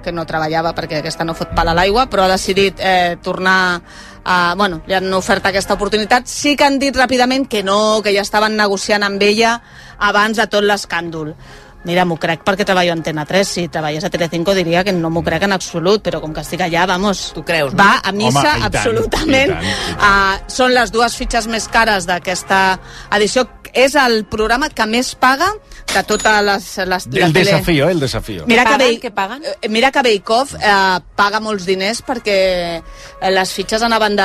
S4: que no treballava perquè aquesta no fot pal a l'aigua, però ha decidit eh, tornar a... Bueno, li han ofert aquesta oportunitat. Sí que han dit ràpidament que no, que ja estaven negociant amb ella abans de tot l'escàndol. Mira, m'ho crec perquè treballo a Antena 3. Si treballés a Telecinco diria que no m'ho crec en absolut, però com que estic allà, vamos... Tu creus, no? Va a missa,
S3: Home, i tant,
S4: absolutament.
S3: i tant, i
S4: Ah, són les dues fitxes més cares d'aquesta edició. És el programa que més paga de totes les... les la
S2: El
S4: tele.
S2: desafío, eh, el desafío.
S4: Mira que,
S3: Paguen,
S4: Bey, que paguen? mira que Beikov eh, paga molts diners perquè eh, les fitxes anaven de,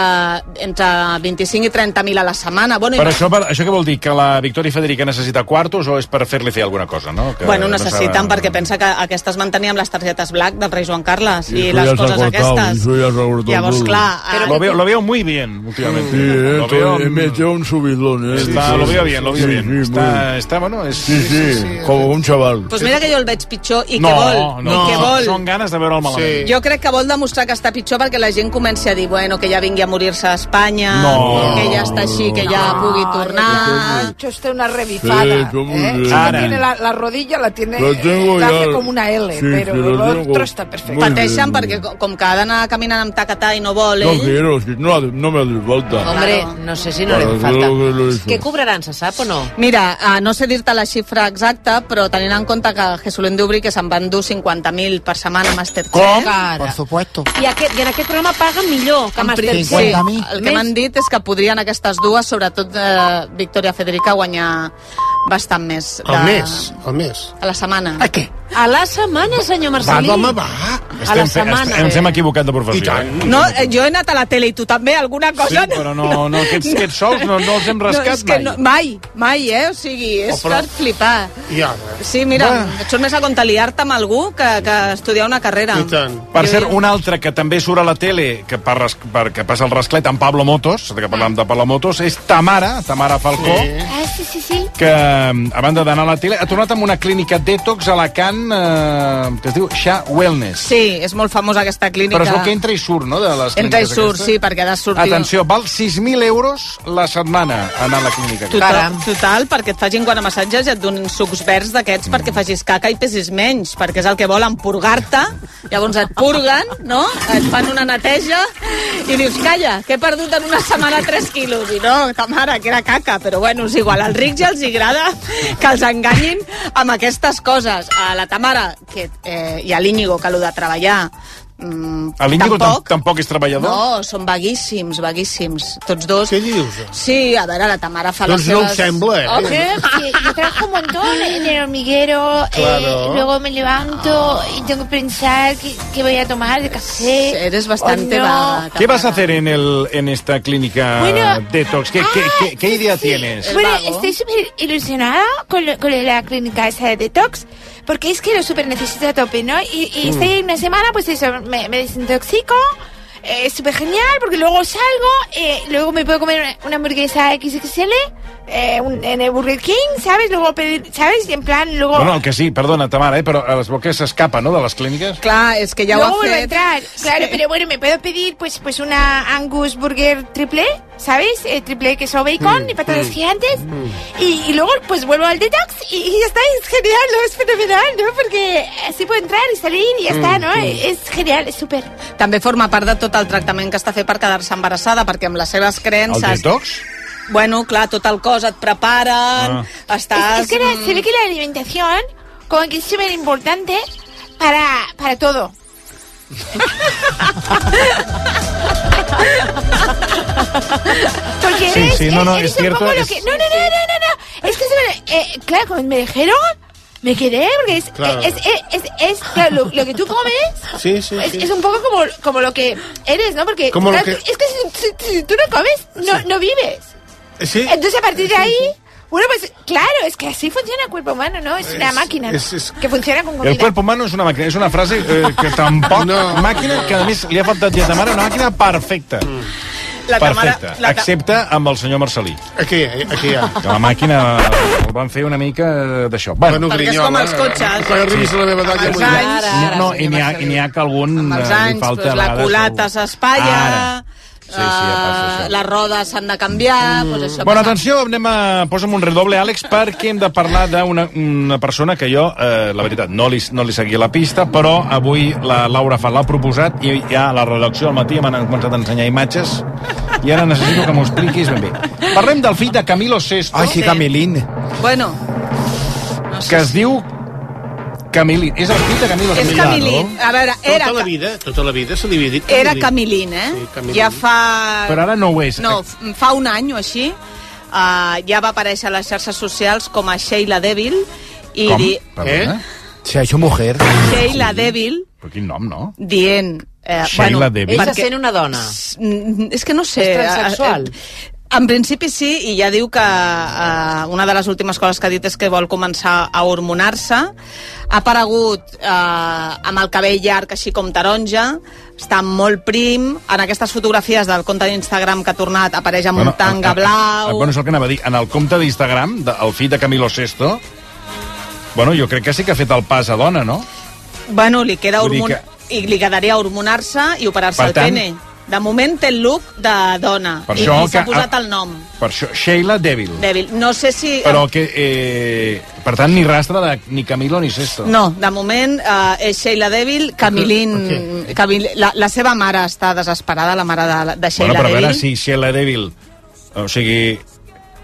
S4: entre 25 i 30.000 a la setmana. Bueno, i
S2: Però
S4: no-
S2: això, per- això què vol dir? Que la Victòria Federica necessita quartos o és per fer-li fer alguna cosa, no? Que...
S30: que
S4: bueno,
S30: no
S4: necessiten,
S30: saben-
S4: perquè pensa que aquestes mantenia amb les targetes black del rei Joan Carles i,
S30: I tu
S4: les
S30: ja s'ha
S4: coses
S30: cortat, i
S4: aquestes.
S30: tu ja s'ha cortat
S4: Llavors,
S30: tot.
S4: clar... eh, ara-
S2: Lo veo, lo veo muy bien últimamente.
S30: Sí, eh,
S2: lo veo,
S30: estoy- me dio un subidón, eh.
S2: Está- lo veo bien, lo veo
S30: Sí,
S2: bien.
S30: sí,
S2: Está-
S30: muy bien.
S2: está bueno, es-
S30: Sí, sí, como un chaval.
S4: Pues doncs mira que jo el veig pitjor i
S2: no,
S4: què vol?
S2: no,
S4: I què vol?
S2: són ganes de veure'l malament.
S4: Jo crec que vol demostrar que està pitjor perquè la gent comenci a dir bueno, que ja vingui a morir-se a Espanya,
S2: No.
S4: que ja està així, que ja
S28: No,
S4: pugui tornar...
S28: Això està una revifada.
S4: Sí,
S28: ¿eh?
S4: bien.
S28: Ella
S4: Ara.
S28: tiene la, la rodilla la tiene
S4: Lo tengo
S28: la hace
S4: ya.
S28: como una L,
S4: Sí,
S28: pero
S4: sí, lo
S28: lo
S4: tengo.
S28: otro está perfecto.
S4: Pateixen perquè co- com que ¿eh? ha d'anar caminant amb tacatà i no vol
S30: No
S4: ell...
S30: quiero, es que no, hace- no me hace falta.
S3: Hombre, no sé si no
S30: Para
S3: le
S30: hacer
S3: falta.
S30: lo que lo hizo.
S3: Què cobraran, se sap o no?
S4: Mira, eh, no sé dir-te la xifra exacta, però tenint en compte que Jesulín Dubri que se'n van dur 50.000 per setmana a Masterchef.
S11: Por supuesto.
S3: I, aquest, I en aquest programa paguen millor que
S4: En
S3: Masterchef.
S4: principi, sí, el que m'han dit és que podrien aquestes dues, sobretot eh, Victoria Federica, guanyar bastant més.
S5: Al mes, al mes.
S4: A la setmana. A què?
S3: A la setmana, senyor Marcelí.
S5: doma, va.
S3: A la
S2: fe-
S3: setmana. Eh.
S2: ens hem equivocat de professió.
S5: I tant.
S4: No, eh, jo he anat a la tele i tu també, alguna
S2: Sí,
S4: cosa...
S2: però no, no, aquests, aquests sols no, no els hem rascat
S4: no, és que
S2: mai.
S4: No, mai, mai, eh? O sigui, és
S2: Oh, però-
S4: per flipar.
S5: Ja.
S4: Sí, mira, et surt més a compte liar-te amb algú que, que estudiar una carrera.
S2: Per cert, un altre que també surt a la tele, que, per, res- per, que passa el rasclet, en Pablo Motos, que
S4: Ah.
S2: parlàvem de Pablo Motos, és Tamara, Tamara Falcó, sí.
S1: Ah, sí, sí, sí.
S2: que, a banda d'anar a la tele, ha tornat amb una clínica detox a Alacant eh, que es diu Xa Wellness.
S4: Sí, és molt famosa aquesta clínica.
S2: Però es veu que entra i surt, no?, de les
S4: Entra i
S2: clíniques
S4: surt,
S2: aquestes.
S4: sí, perquè ha de sortir...
S2: Atenció, val 6.000 euros la setmana anar a la clínica.
S4: Total, total, perquè et facin guanamassatges i et donin sucs verds d'aquests perquè facis caca i pesis menys, perquè és el que volen, purgar-te, llavors et purguen, no? Et fan una neteja i dius, calla, que he perdut en una setmana 3 quilos. I no, ta mare, que era caca, però bueno, és igual, als rics ja els hi agrada que els enganyin amb aquestes coses. A la Tamara que, eh, i a l'Íñigo, que lo de treballar mm,
S2: A l'Índigo
S4: tampoc,
S2: tampoc. tampoc és treballador?
S4: no, són vaguíssims, vaguíssims. Tots dos. Què
S5: dius?
S4: Sí, a veure, la Tamara fa
S5: Doncs
S4: les
S5: no
S4: seves...
S5: em sembla, eh?
S4: Oh, què?
S1: Sí, yo trabajo un montón en el hormiguero, eh,
S5: Claro.
S1: luego me levanto y tengo que pensar qué, qué voy a tomar de café.
S4: Eres
S1: bastante vaga.
S2: ¿Qué vas a hacer en, el, en esta clínica
S1: Bueno,
S2: detox? ¿Qué, qué, qué,
S4: ah,
S2: qué idea tienes?
S1: Bueno, estoy súper ilusionada con, lo- con la clínica esa de detox, porque es que lo súper necesito a tope, ¿no? Y, y
S2: Mm.
S1: estoy en una semana, pues eso, me, me desintoxico, eh, es súper genial, porque luego salgo, eh, luego me puedo comer una, una hamburguesa XXL eh, un- en el Burger King, ¿sabes? Luego pedir, ¿sabes? Y en plan, luego...
S2: Bueno, el que sí, perdona, Tamara, eh, però a les boques s'escapa, no?, de les clíniques.
S4: Clar, és que
S1: Luego vuelvo a entrar, claro, pero bueno, me puedo pedir pues pues una Angus Burger triple, ¿sabes? Eh, triple queso bacon
S2: Mm,
S1: y patatas
S2: mm,
S1: gigantes. Y, y luego pues vuelvo al detox y, y ya está, es genial, ¿no? es fenomenal, ¿no? Porque así puedo entrar y salir y ya está, ¿no?
S4: Mm, mm.
S1: Es genial, es súper.
S4: També forma part de tot el tractament que està fet per quedar-se embarassada, perquè amb les seves
S2: El
S4: creences...
S2: detox?
S4: Bueno, clar, tot el cos et preparen, ah. estàs...
S1: Es, es que la-
S2: mm.
S1: se ve que la alimentación como que es súper importante para, para todo. Porque
S2: Sí,
S1: eres-
S2: sí, no, no,
S1: eres
S2: es
S1: un
S2: cierto,
S1: poco lo
S2: es-
S1: que- no, no, no, no, no, no. Es que se me- eh, claro, cuando me dijeron, me quedé, porque es,
S5: Claro.
S1: es, es, es- es, claro, lo, lo que tú comes
S5: Sí, sí,
S1: es,
S5: sí.
S1: es un poco como, como lo que eres, ¿no? Porque
S5: Como lo
S1: claro,
S5: que-
S1: es que si, si- si tú no comes, no, no vives.
S5: Eh, Sí.
S1: Entonces, a partir de ahí, bueno, pues claro, es que así funciona el cuerpo humano, ¿no? Es una
S2: Es-
S1: máquina
S2: es- es-
S1: que funciona con comida.
S2: El cuerpo humano és una màquina, és una frase eh, que tampoc... No.
S5: No. Mm.
S2: Màquina que, a més, li ha faltat dir a Tamara, una màquina perfecta.
S1: La Tamara-
S2: perfecta,
S1: la Ta-
S2: excepte amb el senyor Marcelí.
S5: Aquí, aquí ja.
S2: Que la màquina el van fer una mica eh, d'això.
S5: Bueno, Perquè és grinyola, com els eh? cotxes. Quan arribis a la meva edat ja Amb els vull- anys,
S2: No, no,
S5: ara,
S2: i n'hi ha, i n'hi ha que algun
S4: amb els
S2: eh, li
S4: anys,
S2: falta
S4: doncs,
S2: a
S4: la
S2: vegades
S4: culata s'espatlla,
S2: Ara.
S4: sí, sí, les rodes s'han de canviar... Mm. Doncs això
S2: Bueno, atenció, anem a... Posa'm un redoble, Àlex, perquè hem de parlar d'una una persona que jo, eh, la veritat, no li, no li seguia la pista, però avui la Laura Fat l'ha proposat i ja a la redacció al matí m'han començat a ensenyar imatges i ara necessito que m'ho expliquis ben bé. Parlem del fill de Camilo Sesto. Ai, sí, Camilín.
S4: Bueno,
S2: Que es diu Camilín. És el fill de Camilo
S4: és
S2: Sesto.
S4: Camilín. A veure, era,
S5: Tota la vida, tota la vida se li havia dit
S4: era Camilín, eh?
S5: Sí, Camilín.
S4: Ja fa...
S2: Però ara no ho és.
S4: No, f- fa un any o així uh, ja va aparèixer a les xarxes socials com a Sheila Devil i
S11: Com?
S4: di...
S11: Perdona? ¿Eh? Se ha hecho mujer.
S4: Sheila Devil
S2: Però quin nom, no?
S4: dient... Eh,
S11: Sheila Devil. Ella
S3: sent una dona.
S4: Mm, És que no sé...
S3: És transsexual.
S4: eh, eh, En principi sí, i ja diu que eh, una de les últimes coses que ha dit és que vol començar a hormonar-se. Ha aparegut eh, amb el cabell llarg així com taronja, està molt prim, en aquestes fotografies del compte d'Instagram que ha tornat apareix amb bueno, un tanga
S2: Ah,
S4: blau...
S2: bueno, és el que anava a dir. En el compte d'Instagram, de- el fill de Camilo Sesto, bueno, jo crec que sí que ha fet el pas a dona, no?
S4: Bueno, li queda
S2: Vull dir
S4: hormon... i li quedaria hormonar-se i operar-se
S2: Per
S4: el
S2: tant-
S4: pene. De moment té el look de dona
S2: Per
S4: i, i
S2: això
S4: s'ha
S2: que-
S4: posat el nom,
S2: Per això, Sheila Devil.
S4: dèbil. No sé si...
S2: Però que, eh, per tant, ni rastre de ni Camilo ni Sesto.
S4: No, de moment eh, és Sheila Devil, Camilín... Camil... La, la seva mare està desesperada, la mare de, de
S2: Bueno,
S4: Sheila
S2: però a veure
S4: Devil.
S2: si Sheila Devil... O sigui,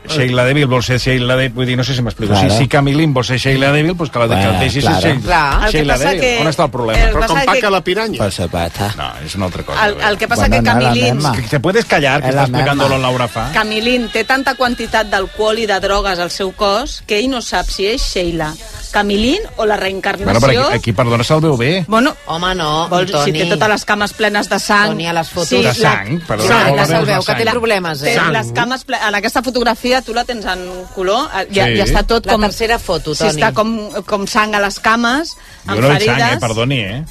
S2: Sheila Devil vol ser Sheila Devil, vull dir, no sé si m'explico.
S8: Claro.
S2: Claro. Si, si Camilín vol ser Sheila Devil, doncs que la, que
S8: Bueno,
S2: la deixi
S8: claro.
S2: ser Sheila,
S4: Clar. El que
S2: Sheila
S4: passa
S2: Devil.
S4: que-
S2: On està el
S4: el
S2: problema?
S4: que Però com passa que- paca la
S2: piranya.
S8: Por supuesto.
S2: No, és una altra cosa.
S4: El- el que passa que Camilín-
S2: Que te puedes callar, que
S8: És la
S2: està explicant-lo
S8: mema.
S2: en Laura fa.
S4: Camilín té tanta quantitat d'alcohol i de drogues al seu cos que ell no sap si és Sheila, Camilín o la reencarnació...
S2: Bueno, però aquí, aquí perdona, se'l veu bé.
S4: Bueno,
S3: Home, no,
S4: Vols, si
S3: Toni.
S4: té totes les cames plenes de sang...
S3: Toni, a les fotos.
S2: De sang, perdó,
S3: Sang,
S2: no
S3: ja
S2: la
S3: se'l
S2: veus
S3: veu,
S2: de
S3: que té
S2: sang.
S3: problemes, eh?
S4: Té les cames ple... En aquesta fotografia tu la tens en color, eh, ja,
S2: Sí.
S4: ja està tot
S3: La
S4: com...
S3: tercera foto,
S4: Si
S3: Toni.
S4: està com, com sang a les cames,
S2: Jo
S4: amb
S2: no veig
S4: ferides...
S2: sang, eh? Perdoni, eh?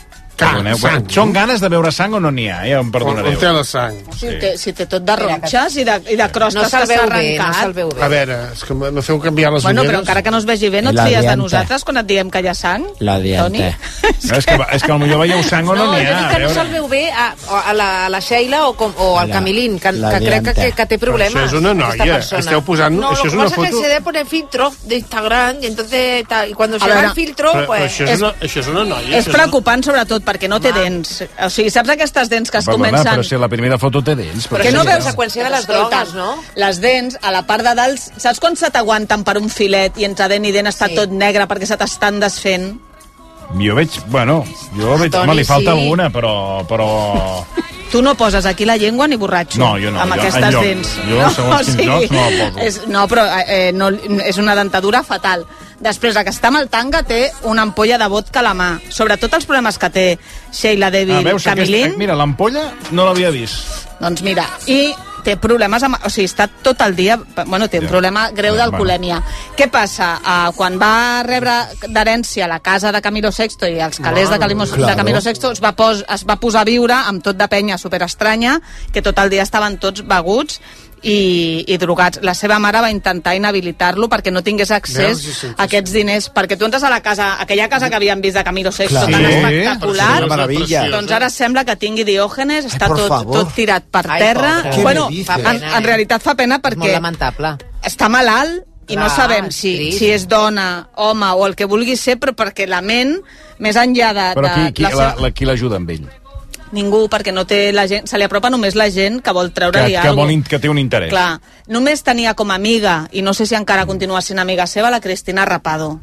S2: Perdoneu,
S5: sang.
S2: Són ganes de veure sang o no n'hi ha, eh? ja em perdonareu.
S5: On- on té la sang?
S4: Si, té, si té tot de ronxes i de, i de crostes
S3: No
S4: que
S3: se'l
S4: s'ha
S3: veu bé,
S4: arrencat.
S3: no se'l veu bé.
S5: A veure, és que me me feu canviar les
S4: Bueno, però
S5: ulleres.
S4: encara que no es vegi bé, no
S5: I
S4: et
S5: la
S4: fies de
S5: diente.
S4: nosaltres quan et diem que hi ha sang?
S5: La diente.
S4: Toni?
S2: No, és que, és que potser veieu sang o no
S3: No,
S2: n'hi
S3: jo
S2: ha.
S3: dic
S2: a
S3: que no
S2: veure.
S3: se'l veu bé a, a, la, a la Sheila o, com, o al
S2: La-
S3: Camilín, que,
S2: la
S3: que crec que,
S2: dienta.
S3: que, que té problemes.
S5: Però això és una
S3: aquesta
S5: noia,
S3: persona.
S5: esteu posant-
S3: No,
S5: això és
S3: lo que
S5: una
S3: pasa que
S5: foto-
S3: se debe poner filtro de Instagram y
S4: Eh,
S3: entonces tal, y cuando se va el filtro,
S5: però,
S2: eh.
S3: pues...
S5: però això, és una, això és una noia.
S4: És
S5: això
S4: preocupant, sobretot, perquè no té dents. O sigui, saps aquestes dents que es
S2: Perdona,
S4: comencen...
S2: però si la primera foto té dents.
S4: Però que no veus
S3: conseqüència de les drogues, no?
S4: Les dents, a la part de dalt, saps quan se t'aguanten per un filet i entre dent i dent està sí. tot negre perquè se t'estan desfent?
S2: Jo veig, bueno, jo veig,
S4: Toni,
S2: home, li falta
S4: sí.
S2: una, però... però...
S4: Tu no poses aquí la llengua ni borratxo.
S2: No, jo no,
S4: Amb
S2: jo
S4: aquestes
S2: enlloc.
S4: dents.
S2: Jo, segons quins llocs, no la poso.
S4: És, no, però eh, no, és una dentadura fatal. Després, la que està amb el tanga té una ampolla de vodka a la mà. Sobretot els problemes que té Sheila
S2: Ah,
S4: Devil
S2: veus,
S4: Camilín.
S2: aquesta, mira, l'ampolla no l'havia vist.
S4: Doncs mira, i té problemes amb... O sigui, està tot el dia... Bueno, té un problema greu
S2: Ja,
S4: d'alcoholèmia. Què passa? Uh, quan va rebre d'herència la casa de Camilo Sexto i els calés
S3: Bueno,
S4: de, Calimo,
S3: claro.
S4: de Camilo Sexto es va, pos, es va posar a viure amb tot de penya superestranya, que tot el dia estaven tots beguts i, i drogats. La seva mare va intentar inhabilitar-lo perquè no tingués accés
S5: Veus, sí, sí, sí.
S4: a aquests diners, perquè tu entres a la casa, aquella casa que havien vist de Camilo
S5: Clar.
S4: Sexto, tan
S5: Sí,
S4: espectacular,
S5: preciosa, preciosa.
S4: doncs ara sembla que tingui diògenes, està
S5: por
S4: tot,
S5: favor.
S4: tot tirat per
S3: Ai,
S4: terra.
S3: pobre. Què
S4: bueno,
S3: me dices?
S2: eh?
S4: en, en realitat fa pena perquè...
S3: molt lamentable.
S4: Està malalt i
S3: Clar,
S4: no sabem
S3: és
S4: si,
S3: trist.
S4: si és dona, home o el que vulgui ser, però perquè la ment, més enllà de...
S2: Però qui,
S4: de,
S2: qui,
S4: la
S2: la,
S4: seva-
S2: la, qui l'ajuda amb ell?
S4: Ningú, perquè no té la gent... Se li apropa només la gent que vol
S2: Que,
S4: treure-li
S2: que,
S4: alguna
S2: vol, in- que té un interès.
S4: Clar, només tenia com a amiga, i no sé si encara continua sent amiga seva, la Cristina Rapado.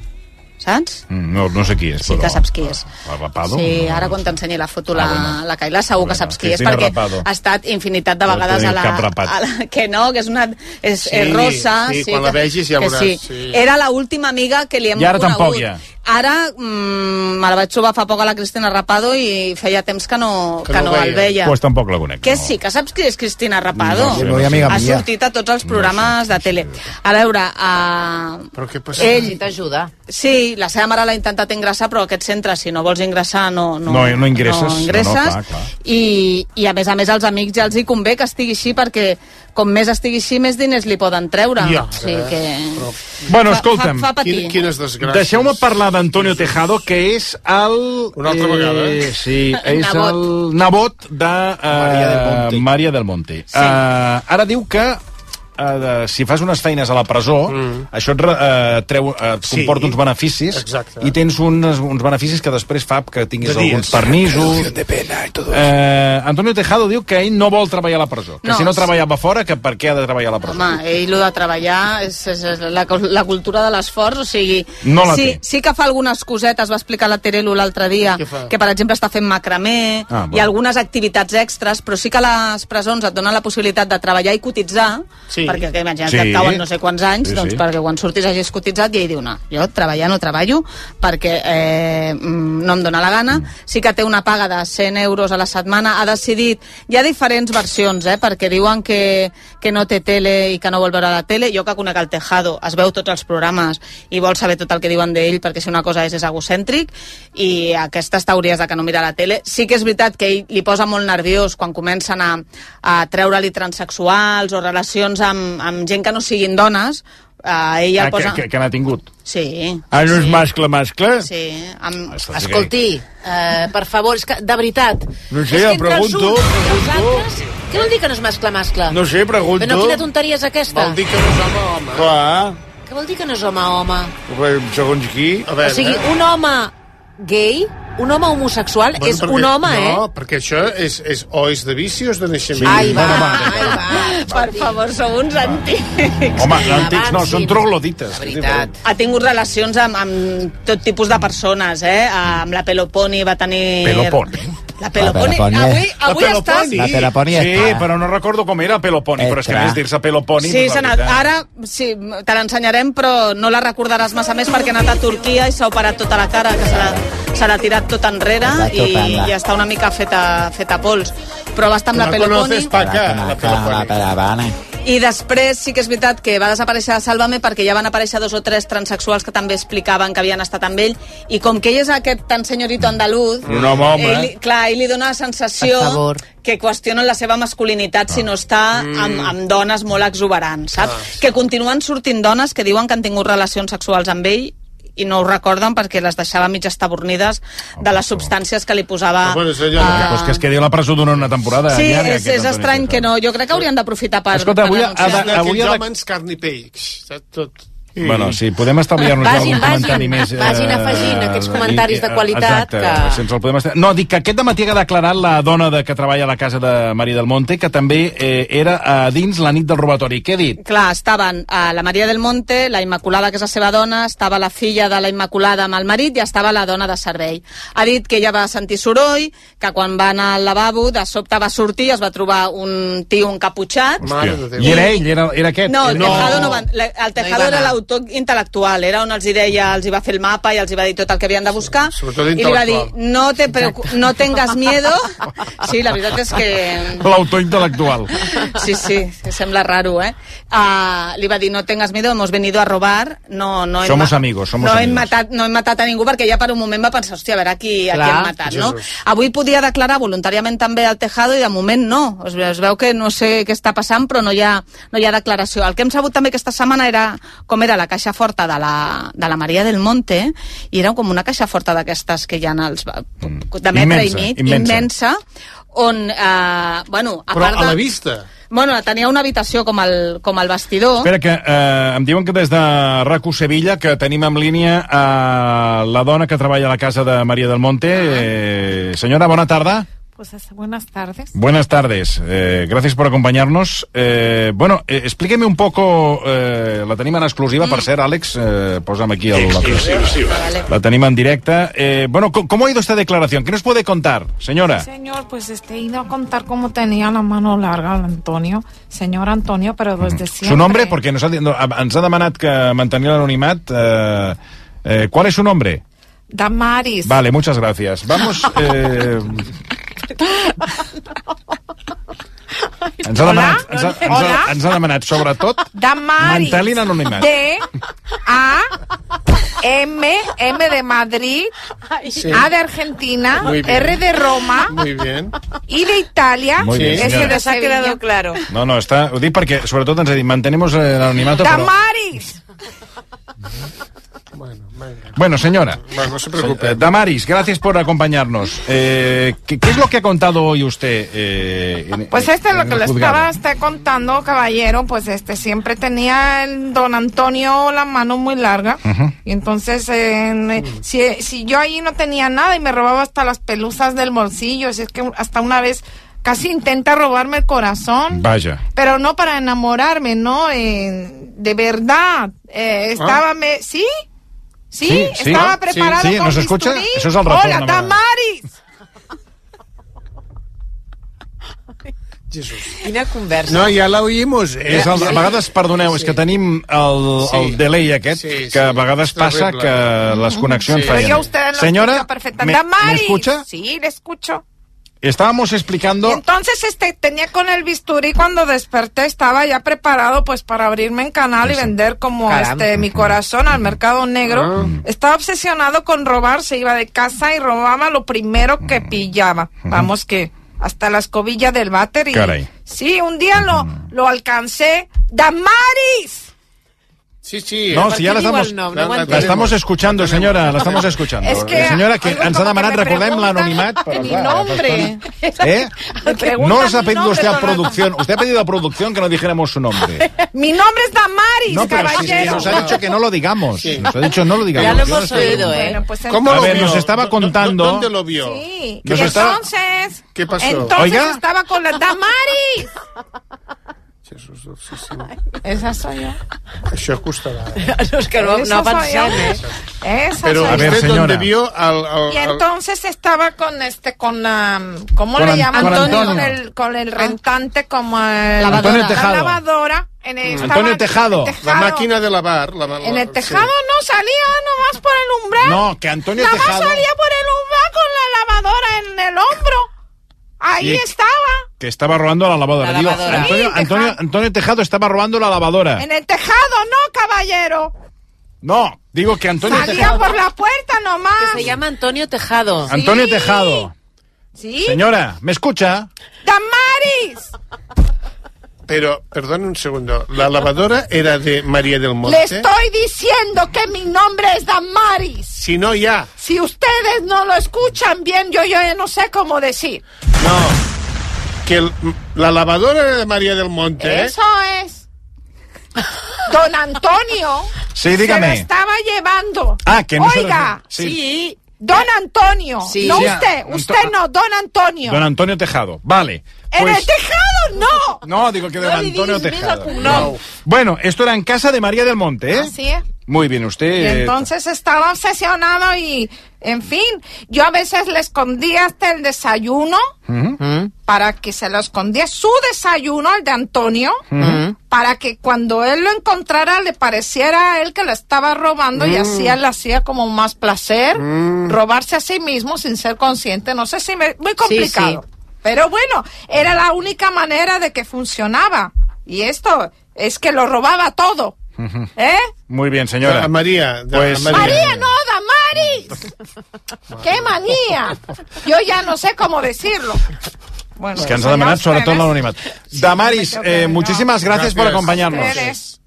S4: Saps?
S2: Mm, No, no sé qui és,
S4: Sí
S2: però...
S4: que saps qui és.
S2: La Rapado?
S4: Sí,
S2: No.
S4: ara quan t'ensenyi la foto la,
S2: Ah, bueno.
S4: la Caila segur que saps qui és,
S2: Cristina
S4: perquè
S2: Rapado.
S4: ha estat infinitat de
S2: No
S4: vegades
S2: teniu
S4: a la,
S2: cap rapat.
S4: a la... Que no, que és una... És,
S5: Sí,
S4: és rosa.
S5: sí, quan la vegis ja
S4: que
S5: veuràs,
S4: Sí.
S5: sí.
S4: Era la última amiga que li hem
S2: I ara
S4: conegut.
S2: tampoc ja.
S4: Ara mm, me la vaig trobar fa poc a la Cristina Rapado i feia temps que no, que no, el veia.
S2: Pues tampoc la conec.
S4: Que sí, que saps qui és Cristina Rapado?
S2: No sé, no sé. Amiga
S4: ha
S2: mia.
S4: sortit a tots els programes de tele. A veure, uh,
S5: Però què passa?
S4: ell...
S3: t'ajuda.
S4: Sí, la seva mare l'ha intentat ingressar, però aquest centre, si no vols ingressar, no, no,
S2: No, no ingresses.
S4: No ingresses.
S2: No, no, clar, clar.
S4: I, I, a més a més, als amics ja els hi convé que estigui així, perquè com més estigui així, més diners li poden treure.
S2: Ja.
S4: O sigui que...
S2: Bueno,
S4: Fa-
S2: escolta'm.
S4: Fa, fa patir.
S5: Quin- Quines desgràcies.
S2: Deixeu-me parlar d'Antonio Tejado, que és el... Una
S5: altra vegada, eh?
S2: Sí, és
S5: Nebot.
S2: el nebot de... Uh, Maria del Monte. Sí. Uh, ara diu que uh, de, si fas unes feines a la presó, mm. això et, uh, treu, uh, et
S5: Sí.
S2: comporta uns beneficis
S5: Exacte.
S2: i tens uns, uns beneficis que després fa que tinguis
S5: De
S2: alguns
S5: dies.
S2: permisos.
S5: Reducción de pena i tot
S2: Eh, Antonio Tejado diu que ell no vol treballar a la presó. Que
S4: No,
S2: si no
S4: sí.
S2: treballava fora, que per què ha de treballar a la presó?
S4: Home, ell el de treballar és, és, és la, la cultura de l'esforç, o sigui...
S2: No la
S4: sí,
S2: té.
S4: sí que fa algunes cosetes, va explicar la Terelu l'altre dia,
S2: fa?
S4: que per exemple està fent macramé
S2: Ah,
S4: i
S2: bueno.
S4: algunes activitats extres, però sí que les presons et donen la possibilitat de treballar i cotitzar,
S5: Sí.
S4: perquè que, imagina't sí.
S3: Sí.
S4: que et cauen no sé quants anys,
S3: Sí,
S4: sí, doncs
S3: sí.
S4: perquè quan surtis hagis cotitzat i ell diu, no, jo treballar no treballo perquè eh, mm, no em dóna la gana. Sí que té una paga de 100 euros a la setmana, ha decidit... Hi ha diferents versions, eh, perquè diuen que, que no té tele i que no vol veure la tele. Jo que conec el Tejado, es veu tots els programes i vol saber tot el que diuen d'ell perquè si una cosa és, és egocèntric i aquestes teories de que no mira la tele sí que és veritat que ell li posa molt nerviós quan comencen a, a treure-li transexuals o relacions amb, amb gent que no siguin dones a
S2: Ah,
S4: ell el
S30: que,
S4: posa...
S30: que, que n'ha tingut.
S4: Sí,
S30: Ah, no és mascle, mascle?
S2: Eh?
S4: sí.
S2: Ah,
S4: Amb...
S3: Escolti, eh, per favor, és que, de veritat...
S30: No
S3: és
S30: sé,
S3: que
S30: ja
S3: entre els
S30: pregunto,
S3: uns i els altres... Què vol dir que no és mascle-mascle?
S30: No sé, pregunto.
S3: Però quina tonteria és aquesta?
S30: Vol dir
S3: que no és home-home.
S30: Clar,
S2: eh?
S3: Què vol dir que no és home-home?
S30: bé, segons qui... A
S3: O sigui, un home gay, un home homosexual,
S5: eh. Bueno,
S3: és
S5: perquè-
S3: un home,
S5: no,
S3: eh?
S5: perquè això és, és, o és de vici o és de naixement.
S3: Sí. Ai, va, Bueno,
S4: Per favor, sou uns antics.
S2: Home, antics no, són troglodites.
S4: Ha tingut relacions amb, amb tot tipus de persones, eh? Amb la Peloponi va tenir...
S2: Peloponi.
S4: La Peloponi.
S2: La Peloponi.
S4: Avui, avui
S2: La
S4: estàs...
S2: Peloponi. Sí, però no recordo com era Peloponi, però és que a més dir-se Peloponi...
S4: Sí,
S2: doncs la
S4: se n'ha-
S2: veritat.
S4: ara sí, te l'ensenyarem, però no la recordaràs massa més perquè ha anat a Turquia i s'ha operat tota la cara, que se l'ha- se l'ha tirat tot enrere
S8: Va
S4: i,
S8: topant-la.
S4: i està una mica feta, feta pols. Però va estar amb la Peloponi...
S8: La Peloponi.
S4: I després sí que és veritat que va desaparèixer de Sálvame perquè ja van aparèixer dos o tres transexuals que també explicaven que havien estat amb ell i com que ell és aquest tan senyorito andaluz
S30: Un home, home,
S4: ell,
S30: eh?
S4: clar, ell li dona la
S3: oh.
S4: sensació
S30: Per favor.
S4: que qüestionen la seva masculinitat
S2: Ah.
S4: si no està
S2: Mm.
S4: amb, amb dones molt exuberants saps? que continuen sortint dones que diuen que han tingut relacions sexuals amb ell i no ho recorden perquè les deixava mig estabornides de les substàncies que li posava
S2: Ah, Però és que es quedi a la presó durant una temporada.
S4: Sí,
S2: llarga,
S4: és,
S2: aquest
S4: és
S2: Antoni
S4: estrany que no. Jo crec que haurien d'aprofitar per...
S2: Escolta, avui
S4: per
S2: ha-
S4: anunciar.
S2: ha- avui ha de-
S5: Hòmens, carn i peix. Saps tot?
S2: Bueno, sí, podem estalviar-nos
S3: Vagin,
S2: algun
S3: vagin,
S2: comentari més. eh,
S3: vagin afegint aquests comentaris de qualitat
S2: Exacte,
S3: que-
S2: si ens el podem estar... No, dic que aquest matí ha declarat la dona de que treballa a la casa de Maria del Monte, que també eh, era a dins la nit del robatori. Què ha dit?
S4: Clar, estaven a la Maria del Monte, la Immaculada, que és la seva dona, estava la filla de la Immaculada amb el marit i estava la dona de servei. Ha dit que ella va sentir soroll, que quan va anar al lavabo, de sobte va sortir i es va trobar un tio encaputxat.
S2: I era ell, era, era aquest.
S4: No, el
S2: Era-
S4: Tejado, no va, la- el tejado
S2: va
S4: era
S2: anar.
S4: l'autor intel·lectual, era on els hi deia, els hi va fer el mapa i els hi va dir tot el que havien de buscar.
S2: Sobretot
S4: I li va dir,
S2: intel·lectual.
S4: no, te preocu- no tengas miedo. Sí, la veritat és que
S2: L'autor intel·lectual.
S4: Sí, sí, que sembla raro, eh? Uh, li va dir, no tengas miedo, hemos venido a robar, no, no hem
S2: Somos
S4: ma-
S2: amigos, somos
S4: no
S2: amigos.
S4: Hem matat, no hem matat a ningú perquè ja per un moment va pensar, hòstia, a veure a qui, a qui
S2: Clar.
S4: hem matat, no?
S2: Jesús.
S4: Avui podia declarar voluntàriament també al Tejado i de moment no. Es, ve- es veu que no sé què està passant, però no hi, ha, no hi ha declaració. El que hem sabut també aquesta setmana era com era la caixa forta de la, de la Maria del Monte i era com una caixa forta d'aquestes que hi ha als, ba-
S2: Mm.
S4: de metre
S5: Immensa,
S4: i mig,
S5: immensa.
S4: immensa on, eh, bueno, a
S5: Però
S4: part de...
S5: a la vista.
S4: Bueno, tenia una habitació com el, com el vestidor.
S2: Espera, que eh, em diuen que des de RACU Sevilla que tenim en línia eh, la dona que treballa a la casa de Maria del Monte. Eh, senyora, bona tarda.
S9: Pues hasta buenas tardes.
S2: Buenas tardes, eh, gracias por acompañarnos. Eh, bueno, eh, explíqueme un poco, eh, la tenim en exclusiva, per cert, Àlex, eh, posa'm aquí el, la,
S9: Exclusiva. Vale.
S2: la tenim en directe. Eh, bueno, co- ¿cómo ha ido esta declaración? ¿Qué nos puede contar, señora?
S9: Señor, pues este, iba a contar cómo tenía la mano larga al Antonio, señor Antonio, pero desde siempre.
S2: Su nombre, porque nos ha, no, a- ens ha demanat que mantenir l'anonimat. Eh, eh, ¿Cuál es su nombre?
S9: Damaris.
S2: Vale, muchas gracias. Vamos... Eh, ens ha demanat, ens ha, ens
S9: Hola?
S2: ha, ens ha demanat sobretot
S9: Damaris.
S2: Mantel inanonimat.
S9: D A M M de Madrid,
S5: Sí.
S9: A de Argentina,
S5: Muy bien.
S9: R de Roma
S5: Muy bien.
S9: y de Italia.
S2: Muy bien,
S9: S
S2: señora.
S9: de
S2: Nos ha
S9: Sevilla.
S2: quedado
S9: claro.
S2: No, no, està, ho dic perquè sobretot ens ha dit mantenemos eh, l'anonimato, però...
S9: Damaris.
S2: Bueno, señora.
S5: Bueno, no se preocupe.
S2: Eh, Damaris, gracias por acompañarnos. Eh, ¿qué, qué es lo que ha contado hoy usted? eh, en-
S9: Pues este es
S2: en
S9: lo que
S2: el
S9: le
S2: juzgado?
S9: estaba este, contando, caballero, pues este siempre tenía el don Antonio la mano muy larga.
S2: Mhm.
S9: Y entonces, eh, me-
S2: Mm.
S9: si, si yo ahí no tenía nada y me robaba hasta las pelusas del bolsillo, si es que hasta una vez casi intenta robarme el corazón,
S2: Vaya.
S9: pero no para enamorarme, ¿no? Eh, de verdad, eh, estaba, me, ¿sí? ¿Sí?
S2: Ah. Sí, sí.
S9: estaba
S2: Sí.
S9: preparado
S2: Sí,
S9: con
S2: ¿nos escucha?
S9: bisturí.
S2: Eso es al ratón,
S9: Hola,
S2: nada más.
S9: Damaris.
S5: Jesús.
S28: Quina conversa.
S2: No, ja la oïmos. És el, a vegades, perdoneu, és que tenim el, el delay aquest, que a vegades pasa que les connexions
S9: Pero
S2: fallan.
S9: yo a usted lo
S2: Señora,
S9: escucho perfectamente.
S2: ¿me, ¿me
S9: Damaris.
S2: escucha?
S9: Sí, le escucho.
S2: Estábamos explicando...
S9: Entonces, este, tenía con el bisturí cuando desperté, estaba ya preparado pues para abrirme en canal y
S2: Pues
S9: vender como
S2: Caramba.
S9: este mi corazón al mercado negro.
S2: Ah.
S9: Estaba obsesionado con robar, se iba de casa y robaba lo primero que pillaba. Vamos que hasta la escobilla del váter y
S2: Caray.
S9: sí, un día lo, lo alcancé. ¡Damaris!
S5: Sí, sí. eh,
S2: No, si ja l'estamos la estamos escuchando, senyora, la estamos escuchando.
S9: Es que
S2: senyora, que
S9: algo
S2: ens ha
S9: como
S2: demanat,
S9: que me
S2: recordem l'anonimat, però
S9: Mi
S2: clar,
S9: nombre.
S2: ¿Eh?
S9: Me preguntan
S2: No os ha
S9: mi
S2: pedido
S9: nombre
S2: usted a
S9: todo el-
S2: producción, usted ha pedido a producción que no dijéramos su nombre.
S9: Mi nombre es Damaris,
S2: No, pero sí, sí,
S9: caballero.
S2: nos ha dicho que no lo digamos. Nos ha dicho no lo digamos.
S9: Ya lo
S2: Yo no
S9: hemos
S2: estoy-
S9: oído, ¿eh? Bueno, pues
S2: ¿Cómo a
S9: entonces-
S2: ver,
S9: ¿Dónde
S2: nos
S9: lo-
S2: estaba contando...
S5: ¿Dónde lo vio?
S9: Sí.
S2: Nos
S9: y
S2: estaba-
S9: entonces,
S5: ¿Qué pasó?
S9: entonces
S2: Oiga.
S9: estaba con la Damaris. Esa soy yo.
S5: Això costarà.
S28: No, és que no,
S9: Esa
S28: no
S9: soy yo.
S28: avancem, eh?
S9: Esa
S5: Però
S9: soy
S5: a
S9: yo.
S5: ver,
S2: senyora.
S5: senyora. vio el, el,
S9: Y
S5: el,
S9: entonces estaba con este, con, ah, ¿cómo
S5: Con
S9: le
S5: An-
S9: llaman?
S5: con Antonio.
S9: Con el, con el
S28: Ah.
S9: rentante, como el,
S2: Lavadora. Antonio Tejado.
S9: la lavadora. En el, estaba
S2: Antonio Tejado.
S9: en el tejado.
S5: de lavar. La,
S9: En el tejado no salía nomás por el umbral.
S2: No, que Antonio
S9: Nada
S2: Tejado...
S9: más salía por el umbral con la lavadora en el hombro. Ahí
S2: Sí.
S9: estaba.
S2: Que estaba robando la lavadora.
S9: La
S2: Digo,
S9: lavadora.
S2: Antonio,
S9: Sí,
S2: Antonio, Antonio Tejado estaba robando la lavadora.
S9: En el tejado, no, caballero.
S2: No, digo que Antonio
S9: Salía
S2: Tejado...
S9: por la puerta nomás.
S3: Que se llama Antonio Tejado.
S2: Antonio Tejado.
S9: Sí.
S2: Señora, Ah, ¿me escucha?
S9: ¡Damaris!
S5: Pero, perdón un segundo, la lavadora era de María del
S9: Le
S5: Monte.
S9: estoy diciendo que mi nombre es Damaris.
S5: Si no, ya.
S9: Si ustedes no lo escuchan bien, yo, yo ya no sé cómo decir.
S5: Que el- la lavadora era de María del Monte. eh.
S9: Eso es. Don Antonio
S5: Sí,
S9: se
S5: dígame.
S9: lo estaba llevando.
S2: Ah, que no se lo-
S9: Oiga,
S2: sí.
S9: Don Antonio,
S2: Sí.
S9: no
S2: Sí,
S9: usted,
S2: Anto-
S9: usted no, Don Antonio.
S2: Don Antonio Tejado. Vale.
S9: en el tejado no.
S2: No, digo que don
S9: No li
S2: Antonio
S9: diguis més
S2: Tejado.
S9: el cognom.
S2: Wow. Bueno, esto era en casa de María del Monte, ¿eh?
S9: Así es.
S2: Muy bien, usted...
S9: Ah, Y
S2: eh,
S9: entonces estaba obsesionado y, en fin, yo a veces le escondía hasta el desayuno
S2: Ujú.
S9: para que se lo escondía su desayuno, el de Antonio, para que cuando él lo encontrara le pareciera a él que lo estaba robando y
S28: Mm.
S9: así él le hacía como más placer robarse a sí mismo sin ser consciente. No sé si me... Muy complicado. Pero bueno, era la única manera de que funcionaba. Y esto es que lo robaba todo.
S2: ujú.
S9: ¿Eh?
S2: Muy bien, señora.
S5: A María. de-
S2: Pues-
S5: a
S9: María, no, Damaris. ¡Qué manía! Yo ya no sé cómo decirlo. Bueno,
S2: Es que ens
S9: pues,
S2: ha demanat sobretot l'anonimat. Damaris, eh, muchísimas gracias, por acompañarnos.
S9: Ustedes.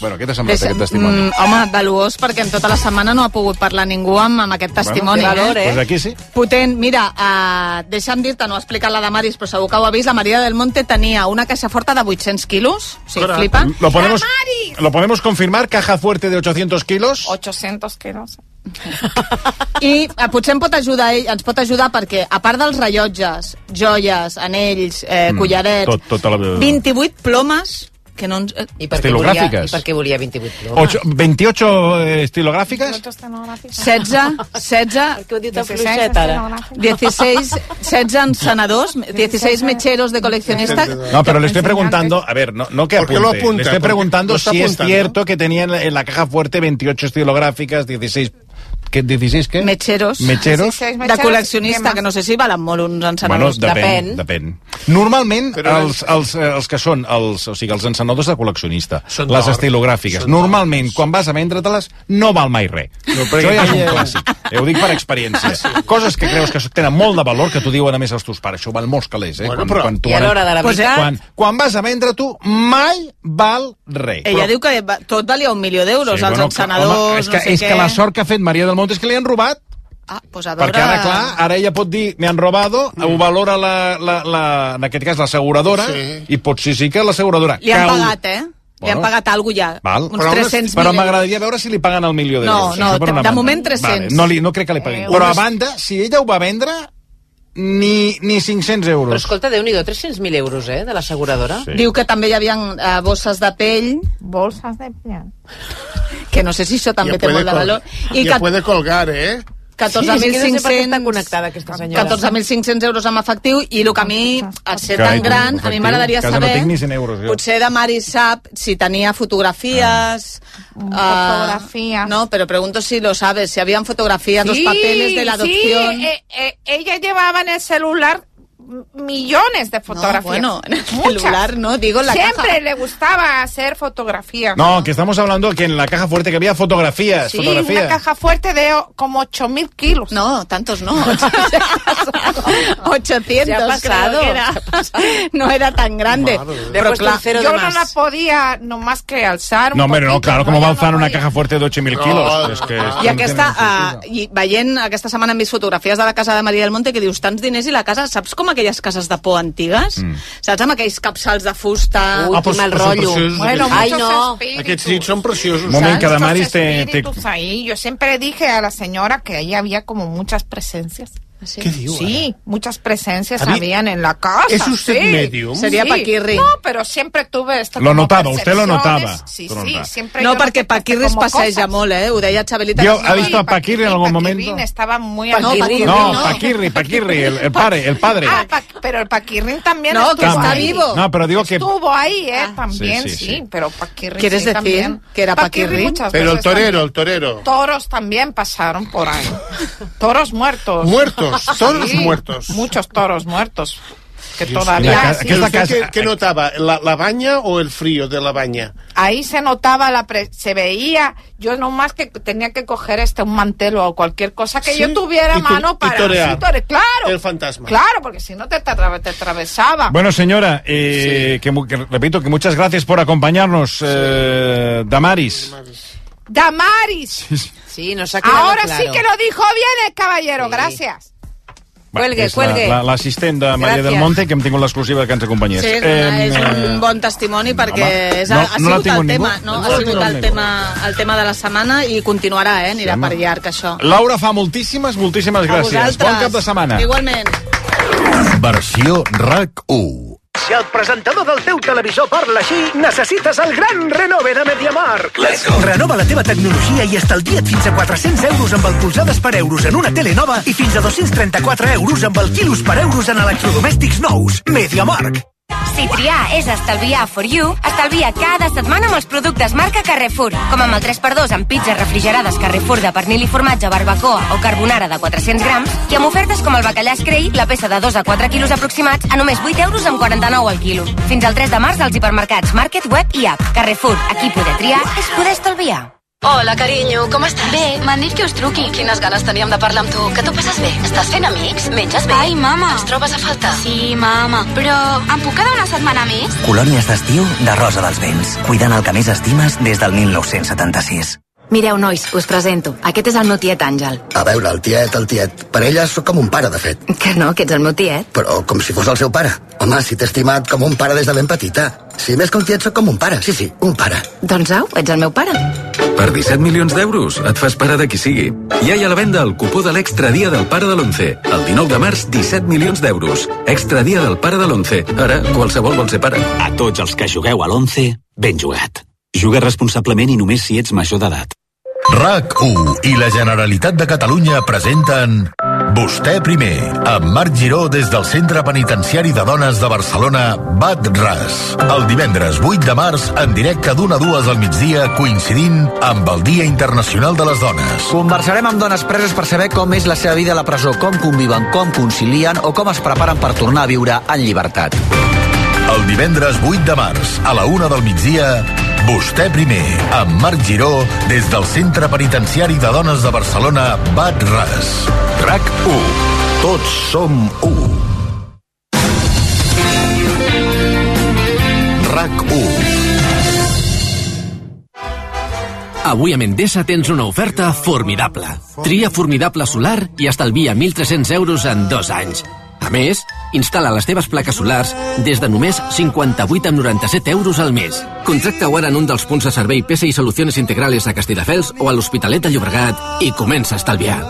S2: Bueno, què t'ha semblat
S4: Deixa-
S2: aquest testimoni?
S4: Mm, home, valuós, perquè en tota la setmana no ha pogut parlar ningú amb, amb aquest testimoni.
S2: Bueno,
S4: eh?
S2: Pues aquí sí.
S4: Potent, mira, uh, deixa'm dir-te, no ho ha explicat la de Maris, però segur que ho ha vist, la Maria del Monte tenia una caixa forta de 800 quilos, o sigui, flipa.
S2: Mm, Lo podemos, lo podemos confirmar, caja fuerte de 800 kilos.
S9: 800 kilos.
S4: I eh, potser em pot ajudar ell, ens pot ajudar perquè, a part dels rellotges, joies, anells, eh,
S2: Mm,
S4: collarets,
S2: tot- tota la-
S4: 28 plomes que no ens... eh, I
S2: per què volia- Estilogràfiques. i per
S4: què volia 28
S2: Ocho- 28 eh, estilográficas.
S4: 16, 16...
S3: què ho diu tan fluixet, ara?
S4: 16, 16 encenedors, 16 mecheros de coleccionista.
S2: No, pero le estoy preguntando, a ver, no, no que
S5: ¿Por qué
S2: apunte,
S5: lo apunta?
S2: le estoy
S5: Porque
S2: preguntando
S5: lo está
S2: si es
S5: apuntando.
S2: cierto que tenía en la, en la caja fuerte 28 estilográficas, 16... ¿Qué, 16 qué?
S4: Mecheros.
S2: Mecheros.
S4: De coleccionista, que no sé si valen molt uns
S2: Bueno,
S4: encenedors.
S2: depèn, depèn. Normalment, els, els, eh, els que són, els, o sigui, els encenedors de col·leccionista,
S5: Són
S2: les
S5: d'or.
S2: estilogràfiques,
S5: Són
S2: normalment, quan vas a vendre-te-les, no val mai res. No,
S5: perquè
S2: Això ja és
S5: aquella-
S2: un clàssic. Eh, ho dic per
S5: Ah,
S2: experiència. Coses que creus que tenen molt de valor, que t'ho diuen a més els teus pares. Això val molts calés, eh?
S5: Bueno, però-
S2: tu
S5: I a l'hora de la
S2: Pues, eh,
S5: veritat-
S2: Quan, quan vas a vendre, tu mai val res.
S4: Ella diu que va- tot valia un milió d'euros,
S2: Sí,
S4: els
S2: bueno,
S4: encenedors,
S2: home, és que,
S4: no sé
S2: és
S4: què...
S2: que la sort que ha fet Maria del Monte és que li han robat
S4: Ah, pues a veure...
S2: perquè ara, clar, ara ella pot dir me han robado, mm. ho valora la, la, la, en aquest cas l'asseguradora, sí. i potser sí que l'asseguradora...
S4: Li han
S2: cau-
S4: pagat, eh? Li han
S2: Bueno.
S4: pagat alguna ja.
S2: Val.
S4: Uns 300
S2: però
S4: mil
S2: m'agradaria veure si li paguen el milió d'euros.
S4: No, no,
S2: Això per
S4: de-
S2: una
S4: de
S2: banda.
S4: moment Eh, 300.
S2: Vale. No, li, no crec que li paguin. però a
S3: unes-
S2: banda, si ella ho va vendre, ni, ni 500
S3: Però
S2: euros.
S3: escolta, déu nhi 300.000 euros, eh, de l'asseguradora.
S2: Sí.
S4: Diu que també hi havia eh, bosses de pell,
S9: Bolsas de piel.
S4: que no sé si això també
S5: Ja
S4: té
S5: puede
S4: molt de
S5: col-
S4: valor.
S5: ja
S4: que
S5: puede colgar, eh?
S28: Sí, és que no sé per què
S4: 14.500
S28: està connectada aquesta senyora.
S4: 14.500 euros en efectiu i el que a mi, al ser tan
S2: Carai,
S4: gran,
S2: efectiu,
S4: a mi m'agradaria
S2: que ara no
S4: saber...
S2: tinc ni 100 euros, jo.
S4: potser de Mari sap si tenia fotografies... Ah.
S9: fotografías.
S4: no, pero pregunto si lo sabes, si habían fotografías, los
S9: Sí,
S4: papeles de la adopción...
S9: Sí, eh, eh, ella llevaba en el celular m- millones de fotografías.
S4: bueno, en el
S9: Muchas.
S4: celular, no, digo en la
S9: Siempre
S4: caja.
S9: le gustaba hacer fotografías.
S2: No, que estamos hablando que en la caja fuerte que había fotografías,
S9: Sí,
S2: fotografías.
S9: una caja fuerte de o- como 8000 kilos.
S4: No, tantos no. 800
S9: Se ha pasado,
S4: creo que era. no era tan grande. Pero clar,
S9: yo no la podía nomás que alzar. un
S2: No, hombre, no,
S9: poquito,
S2: claro,
S9: Yo
S2: ¿cómo va a
S9: no
S2: alzar una caja fuerte de 8.000 kilos?
S9: No,
S2: Es que esto
S4: Ah.
S2: no
S4: I
S2: tiene
S4: aquesta, uh, i veient aquesta setmana hem vist fotografies de la casa de Maria del Monte que dius tants diners i la casa, saps com aquelles cases de por antigues? Mm. Saps amb aquells capsals de fusta?
S5: Ui, Ah, quin pues, mal pues són rotllo. preciosos,
S9: Bueno,
S5: Ai,
S9: muchos
S5: no.
S9: espíritus.
S5: Aquests nits són preciosos.
S2: Un moment, que
S9: Muchos
S2: Damaris te- te-
S9: espíritus ahí. Yo siempre dije a la señora que ahí había como muchas presencias.
S4: ¿Qué
S5: digo,
S9: Sí, muchas presencias
S2: A mí-
S9: habían en la casa.
S2: ¿Es usted
S9: sí.
S2: medium?
S4: Sería paquirri.
S9: No, pero siempre tuve esto.
S2: Lo notaba, usted lo notaba.
S9: Sí,
S2: Tú lo
S9: sí,
S2: notabas.
S9: siempre
S4: no,
S9: yo
S4: perquè Paquirri es
S9: com
S4: passeja
S9: coses.
S4: molt, eh? Ho deia Xabelita.
S2: Yo,
S4: que
S2: ¿Ha
S4: sí.
S2: visto a Paquirri en algún momento?
S9: Paquirrin estaba muy
S4: No,
S9: activo.
S4: Paquirrin
S2: No, Paquirri, Paquirri, el, el padre, el padre.
S9: Ah, pa- pero el Paquirrin también
S4: No,
S9: estuvo
S4: que está
S9: ahí.
S4: vivo. Ah.
S2: No, pero digo que...
S9: Estuvo ahí, eh, también,
S2: sí,
S9: sí,
S2: sí,
S9: pero Paquirrin
S4: ¿Quieres
S9: sí,
S4: decir
S9: también.
S4: que era Paquirrin?
S9: muchas
S5: Pero el
S9: veces también.
S5: torero, el torero.
S9: Toros también pasaron por ahí. Toros muertos.
S5: Muertos, toros
S9: Sí,
S5: muertos.
S9: Muchos toros muertos. Que
S5: Dios
S9: todavía...
S5: mío.
S9: sí.
S5: Pero usted, ¿Qué, qué notaba? ¿La, la baña o el frío de la baña?
S9: Ahí se notaba la pre- se veía, yo nomás que tenía que coger este un mantelo o cualquier cosa que
S5: Sí,
S9: yo tuviera a
S5: y tu-
S9: mano
S5: y
S9: para
S5: torear.
S9: sí, tore- claro.
S5: El fantasma.
S9: Claro, porque si no te, atra- te atravesaba.
S2: Bueno, señora, eh, que, mu- que repito que muchas gracias por acompañarnos, eh, Damaris.
S9: Damaris.
S28: Sí, nos ha quedado
S9: Ahora
S28: claro.
S9: sí que lo dijo bien el caballero, gracias.
S28: Cuelgue,
S2: és la-
S28: cuelgue.
S2: la- L'assistent de Maria del
S4: Gràcies.
S2: Monte, que hem tingut l'exclusiva que ens acompanyés.
S4: Sí, és, una,
S2: Em,
S4: és
S2: eh,
S4: un bon testimoni perquè
S2: home,
S4: és, ha,
S2: no-
S4: ha
S2: no la
S4: sigut
S2: tinc
S4: el
S2: amb ningú.
S4: tema,
S2: No
S4: no? ha
S2: la
S4: sigut
S2: tinc amb
S4: el
S2: ningú.
S4: tema, el tema de la setmana i continuarà, eh? Anirà per llarg, això.
S2: Laura fa moltíssimes, moltíssimes
S4: A
S2: gràcies. Bon
S4: vosaltres.
S2: cap de setmana.
S4: Igualment.
S20: Versió RAC1.
S12: Si el presentador del teu televisor parla així, necessites el gran renove de Mediamar. Let's go. Renova la teva tecnologia i estalvia't fins a 400 euros amb el polsades per euros en una tele nova i fins a 234 euros amb el quilos per euros en electrodomèstics nous. Mediamarkt.
S13: Si triar és estalviar for you, estalvia cada setmana amb els productes marca Carrefour, com amb el 3x2 amb pizzas refrigerades Carrefour de pernil i formatge, barbacoa o carbonara de 400 grams i amb ofertes com el bacallà Escrei, la peça de 2 a 4 quilos aproximats, a només 8 euros amb 49 al quilo. Fins al 3 de març als hipermercats Market, Web i App. Carrefour, aquí poder triar és poder estalviar.
S14: Hola, carinyo, com estàs? Bé, m'han dit que us truqui. Quines ganes teníem de parlar amb tu. Que t'ho passes bé? Estàs fent amics? Menges bé?
S15: Ai, mama.
S14: Ens trobes a falta?
S15: Sí, mama, però em puc quedar una setmana més?
S16: Colònies d'estiu de Rosa dels Vents, cuidant el que més estimes des del 1976.
S14: Mireu, nois, us presento. Aquest és el meu tiet Àngel.
S7: A veure, el tiet, el tiet. Per ella sóc com un pare, de fet.
S14: Que no, que ets el meu tiet.
S7: Però com si fos el seu pare. Home, si t'he estimat com un pare des de ben petita. Si més que un tiet, sóc com un pare. Sí, sí, un pare.
S14: Doncs au, ets el meu pare.
S18: Per 17 milions d'euros et fas pare de qui sigui. Hi ha a la venda el cupó de l'extra dia del pare de l'11. El 19 de març, 17 milions d'euros. Extra dia del pare de l'11. Ara, qualsevol vol ser pare.
S31: A tots els que jugueu a l'11, ben jugat. Juga responsablement i només si ets major d'edat.
S20: RAC1 i la Generalitat de Catalunya presenten Vostè primer, amb Marc Giró des del Centre Penitenciari de Dones de Barcelona, Bat Ras. El divendres 8 de març, en directe d'una a dues al migdia, coincidint amb el Dia Internacional de les Dones.
S6: Conversarem amb dones preses per saber com és la seva vida a la presó, com conviven, com concilien o com es preparen per tornar a viure en llibertat.
S20: El divendres 8 de març, a la una del migdia, Vostè primer, amb Marc Giró, des del Centre Penitenciari de Dones de Barcelona, Bat Ras. RAC 1. Tots som 1.
S6: RAC 1 Avui a Endesa tens una oferta formidable. Tria formidable solar i estalvia 1.300 euros en dos anys. A més, instal·la les teves plaques solars des de només 58 amb 97 euros al mes. Contracta-ho ara en un dels punts de servei PSA i Soluciones Integrales a Castelldefels o a l'Hospitalet de Llobregat i comença a estalviar.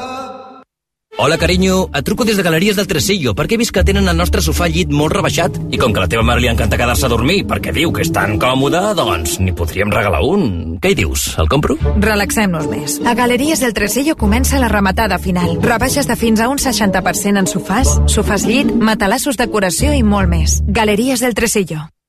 S6: Hola, carinyo. Et truco des de Galeries del Tresillo perquè he vist que tenen el nostre sofà llit molt rebaixat i com que a la teva mare li encanta quedar-se a dormir perquè diu que és tan còmode, doncs n'hi podríem regalar un. Què hi dius? El compro?
S9: Relaxem-nos més. A Galeries del Tresillo comença la rematada final. Rebaixes de fins a un 60% en sofàs, sofàs llit, matalassos decoració i molt més. Galeries del Tresillo.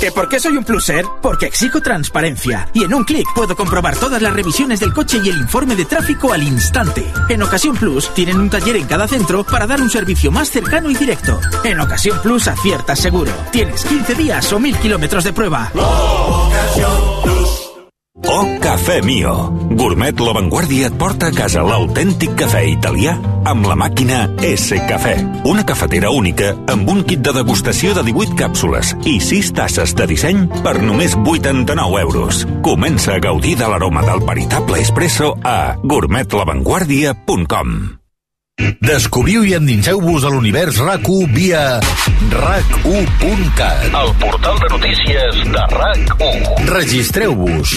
S7: ¿Que por qué soy un pluser? Porque exijo transparencia y en un clic puedo comprobar todas las revisiones del coche y el informe de tráfico al instante. En Ocasión Plus tienen un taller en cada centro para dar un servicio más cercano y directo. En Ocasión Plus aciertas seguro. Tienes 15 días o 1000 kilómetros de prueba.
S28: Oh, cafè mio! Gourmet La Vanguardia et porta a casa l'autèntic cafè italià amb la màquina S Cafè. Una cafetera única amb un kit de degustació de 18 càpsules i 6 tasses de disseny per només 89 euros. Comença a gaudir de l'aroma del veritable espresso a gourmetlavanguardia.com
S20: Descobriu i endinseu-vos a l'univers RAC1 via rac1.cat.
S32: El portal de notícies de RAC1.
S20: Registreu-vos.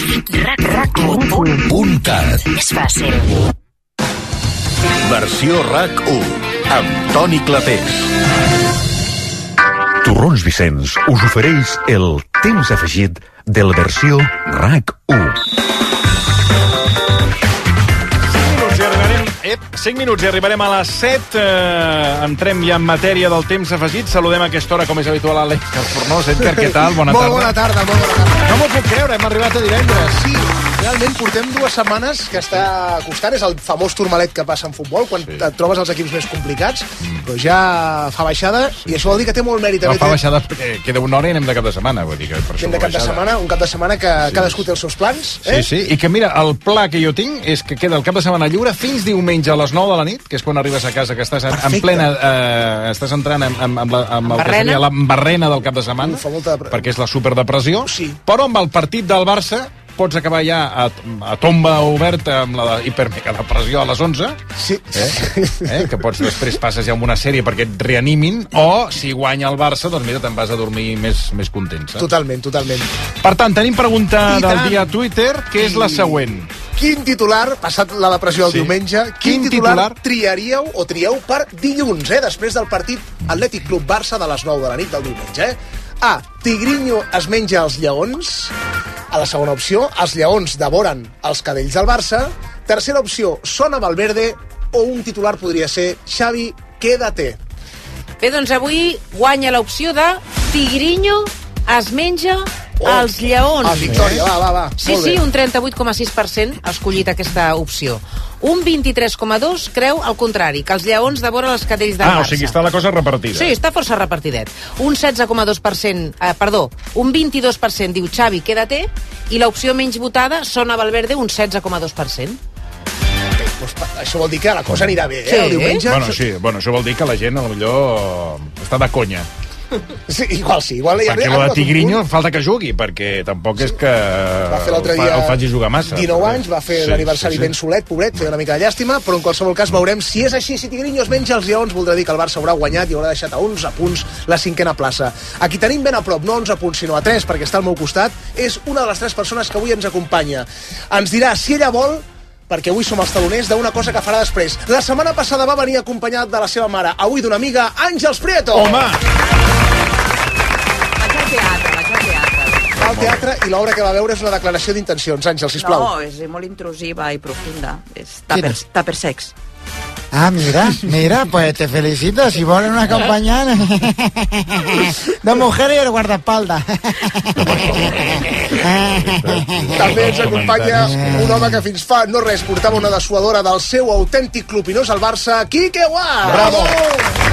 S20: RAC1.cat.
S32: És fàcil.
S20: Versió RAC1 amb Toni Clapés.
S33: Torrons Vicenç us ofereix el temps afegit de la versió RAC1.
S2: minuts i arribarem... Ep, 5 minuts i arribarem a les 7. Eh, entrem ja en matèria del temps afegit. Saludem a aquesta hora, com és habitual, a l'Edgar Fornós. Edgar, què tal? Bona
S11: molt
S2: tarda.
S11: Bona tarda, molt bona tarda. No m'ho puc creure, hem arribat a divendres.
S26: Sí, realment portem dues setmanes que està costant. És el famós turmalet que passa en futbol, quan sí. et trobes els equips més complicats, però ja fa baixada, i això vol dir que té molt mèrit. eh,
S2: No
S26: haver
S2: fa
S26: tret-
S2: baixada perquè queda una hora i anem de cap de setmana. Vull dir que per això
S26: Gent de
S2: fa
S26: cap de
S2: baixada.
S26: setmana, un cap de setmana que sí. cadascú té els seus plans, eh?
S2: Sí, sí, i que mira, el pla que jo tinc és que queda el cap de setmana lliure fins diumenge a les 9 de la nit, que és quan arribes a casa, que estàs en, en
S26: Perfecte.
S2: plena... Eh, estàs entrant amb, amb, amb, la, amb el que
S26: Barrena.
S2: seria l'embarrena del cap de setmana, Uf, molta... perquè és la superdepressió, sí. però amb el partit del Barça pots acabar ja a, a tomba oberta amb la hipermega depressió a les 11,
S26: sí.
S2: Eh? Eh? que pots després passes ja amb una sèrie perquè et reanimin, o si guanya el Barça, doncs mira, te'n vas a dormir més, més content. Saps?
S26: Totalment, totalment.
S2: Per tant, tenim pregunta
S26: I
S2: del
S26: tant.
S2: dia a Twitter, que és la següent.
S26: Quin titular, passat la depressió del
S2: Sí.
S26: sí. diumenge, quin,
S2: Quin
S26: quin titular,
S2: titular?
S26: titular triaríeu o trieu per dilluns, eh? després del partit Atlètic Club Barça de les 9 de la nit del diumenge? Eh? A. Tigrinho es menja els lleons. A la segona opció, els lleons devoren els cadells del Barça. Tercera opció, sona Valverde. O un titular podria ser Xavi, quédate.
S21: Bé, doncs avui guanya l'opció de Tigrinho es menja oh, els lleons.
S26: Ah, victòria, va, va, va.
S21: Sí,
S26: Molt
S21: sí,
S26: bé.
S21: un 38,6% ha escollit aquesta opció. Un 23,2 creu el contrari, que els lleons devoren els cadells del
S2: Ah, o
S21: Barça.
S2: sigui, està la cosa repartida.
S21: Sí, està força repartidet. Un 16,2%, eh, perdó, un 22% diu Xavi, quédate, i l'opció menys votada sona Valverde un 16,2%.
S26: Pues, pa- doncs, això vol dir que la cosa anirà bé, eh?
S21: Sí.
S26: El diumenge...
S2: Bueno, sí, bueno, això vol dir que la gent, a lo millor, està de conya.
S26: sí. Igual sí, igual... hi ha-
S2: Perquè la
S26: ha
S2: de
S26: tingut
S2: Tigrinho falta que jugui, perquè tampoc és que
S26: va fer l'altre
S2: el fa-
S26: dia
S2: el faci jugar massa.
S26: 19 anys, va fer sí, l'aniversari sí, sí. ben solet, pobret, feia una mica de llàstima, però en qualsevol cas veurem si és així, si Tigrinho es menja els lleons, voldrà dir que el Barça haurà guanyat i haurà deixat a 11 punts la cinquena plaça. Aquí tenim ben a prop, no 11 punts, sinó a 3, perquè està al meu costat, és una de les tres persones que avui ens acompanya. Ens dirà si ella vol perquè avui som els taloners d'una cosa que farà després. La setmana passada va venir acompanyat de la seva mare, avui d'una amiga, Àngels Prieto. Home! Va al teatre i l'obra que va veure és una declaració d'intencions. Àngels, sisplau. No, és molt intrusiva i profunda. És tupper, tupper sex.
S11: Ah, mira, mira, pues te felicito. Si ponen
S2: ¿Eh?
S11: una compañía de mujeres y el guardaespaldas.
S26: També ens acompanya un home que fins fa no res portava una dessuadora del seu autèntic club i no és el Barça, Quique Guà!
S2: Bravo.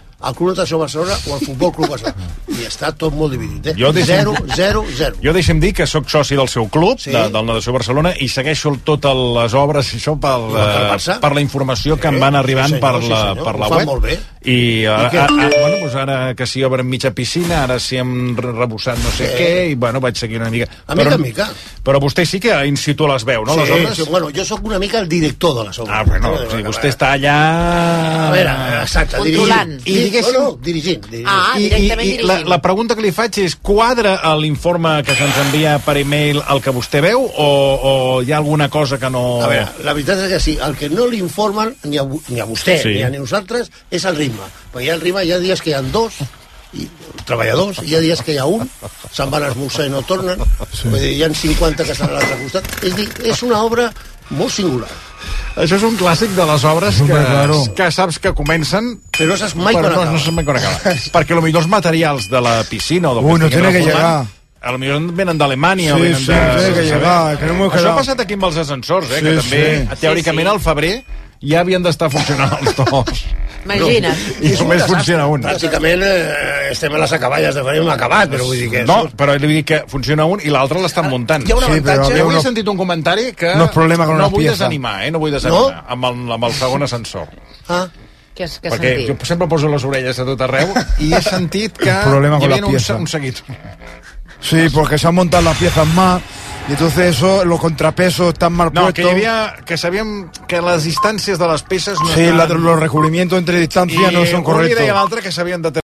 S30: al Club Natació Barcelona o al Futbol Club Barcelona. I està tot molt dividit, eh?
S2: Jo deixem-
S30: 0, 0, 0.
S2: Jo deixem dir que sóc soci del seu club,
S30: Sí.
S2: sí. de, del Natació Barcelona, i segueixo totes les obres i això pel,
S30: Igual que el
S2: eh,
S30: Barça.
S2: per la informació que
S30: Sí,
S2: em van arribant
S30: sí senyor,
S2: per
S30: sí
S2: la,
S30: senyor,
S2: per la
S30: ho fan
S2: web.
S30: molt bé.
S2: I, ara,
S30: I que-
S2: a, a, bueno, doncs ara que si obren mitja piscina, ara si hem rebussat no sé
S30: Sí.
S2: què, i bueno, vaig seguir una mica.
S30: A mica en mica.
S2: Però vostè sí que in situ les veu, no,
S30: sí,
S2: les obres?
S30: sí, bueno, jo sóc una mica el director de les obres.
S2: Ah, bueno, o sigui, vostè està allà...
S30: A veure, exacte,
S3: Controlant.
S30: dirigint. I diguéssim... No, no, dirigint. dirigint.
S3: Ah,
S2: I,
S3: directament
S2: i, i la,
S3: dirigint.
S2: la pregunta que li faig és quadra a l'informe que se'ns envia per e-mail el que vostè veu o, o hi ha alguna cosa que no...
S30: A veure, la veritat és que sí, el que no li informen ni a, vo- ni a vostè
S2: Sí.
S30: sí. ni a nosaltres és el ritme. Perquè hi ha el ritme, hi ha dies que hi ha dos i, treballadors, hi ha dies que hi ha un, se'n van a esmorzar i no tornen, sí. vull dir, hi ha 50 que estan a l'altre costat. És, a dir, és una obra molt singular.
S2: Això és un clàssic de les obres que,
S30: Hombre, claro.
S2: que saps que comencen
S30: Però no saps mai
S2: però
S30: quan
S2: no,
S30: acaba.
S2: no saps mai quan acaba. Perquè potser els materials de la piscina o del
S4: Uy, no
S2: que estiguin
S4: tiene que
S2: reformant,
S4: llegar.
S2: A lo millor venen d'Alemanya o
S4: Sí,
S2: venen
S4: sí,
S2: de...
S4: tiene que
S2: sense saber.
S4: llegar, que no m'ho he
S2: Això
S4: quedat.
S2: ha passat aquí amb els ascensors, eh,
S4: Sí,
S2: que també,
S4: sí.
S2: teòricament, al febrer ja havien d'estar funcionant els dos.
S3: Imagina't.
S2: I només funciona un.
S30: Pràcticament eh, estem a les acaballes de fer un acabat, però vull dir que... Ah,
S2: No, però li dic que funciona un i l'altre l'estan muntant.
S30: Hi ha un Sí, però avantatge-
S2: Jo avui
S30: no-
S2: he sentit un comentari que
S30: no és problema con
S2: no
S30: una
S2: vull
S30: pieza.
S2: desanimar, eh? No vull desanimar no? Amb, el, amb el segon ascensor.
S30: Ah.
S3: Què has, què has
S2: perquè
S3: sentit?
S2: jo sempre poso les orelles a tot arreu i he sentit que
S4: Un problema
S2: hi
S4: con la
S2: havia un,
S4: pieza.
S2: se- un seguit.
S4: Sí, porque se han montado las piezas más y entonces eso, los contrapesos están mal
S2: No, que hi
S4: puestos.
S2: havia... Que sabíem que les distàncies de les peces no
S4: Sí, la-
S2: estaven...
S4: los recubrimientos entre distancias no son
S2: I un li
S4: correctos.
S2: deia a l'altre que s'havien de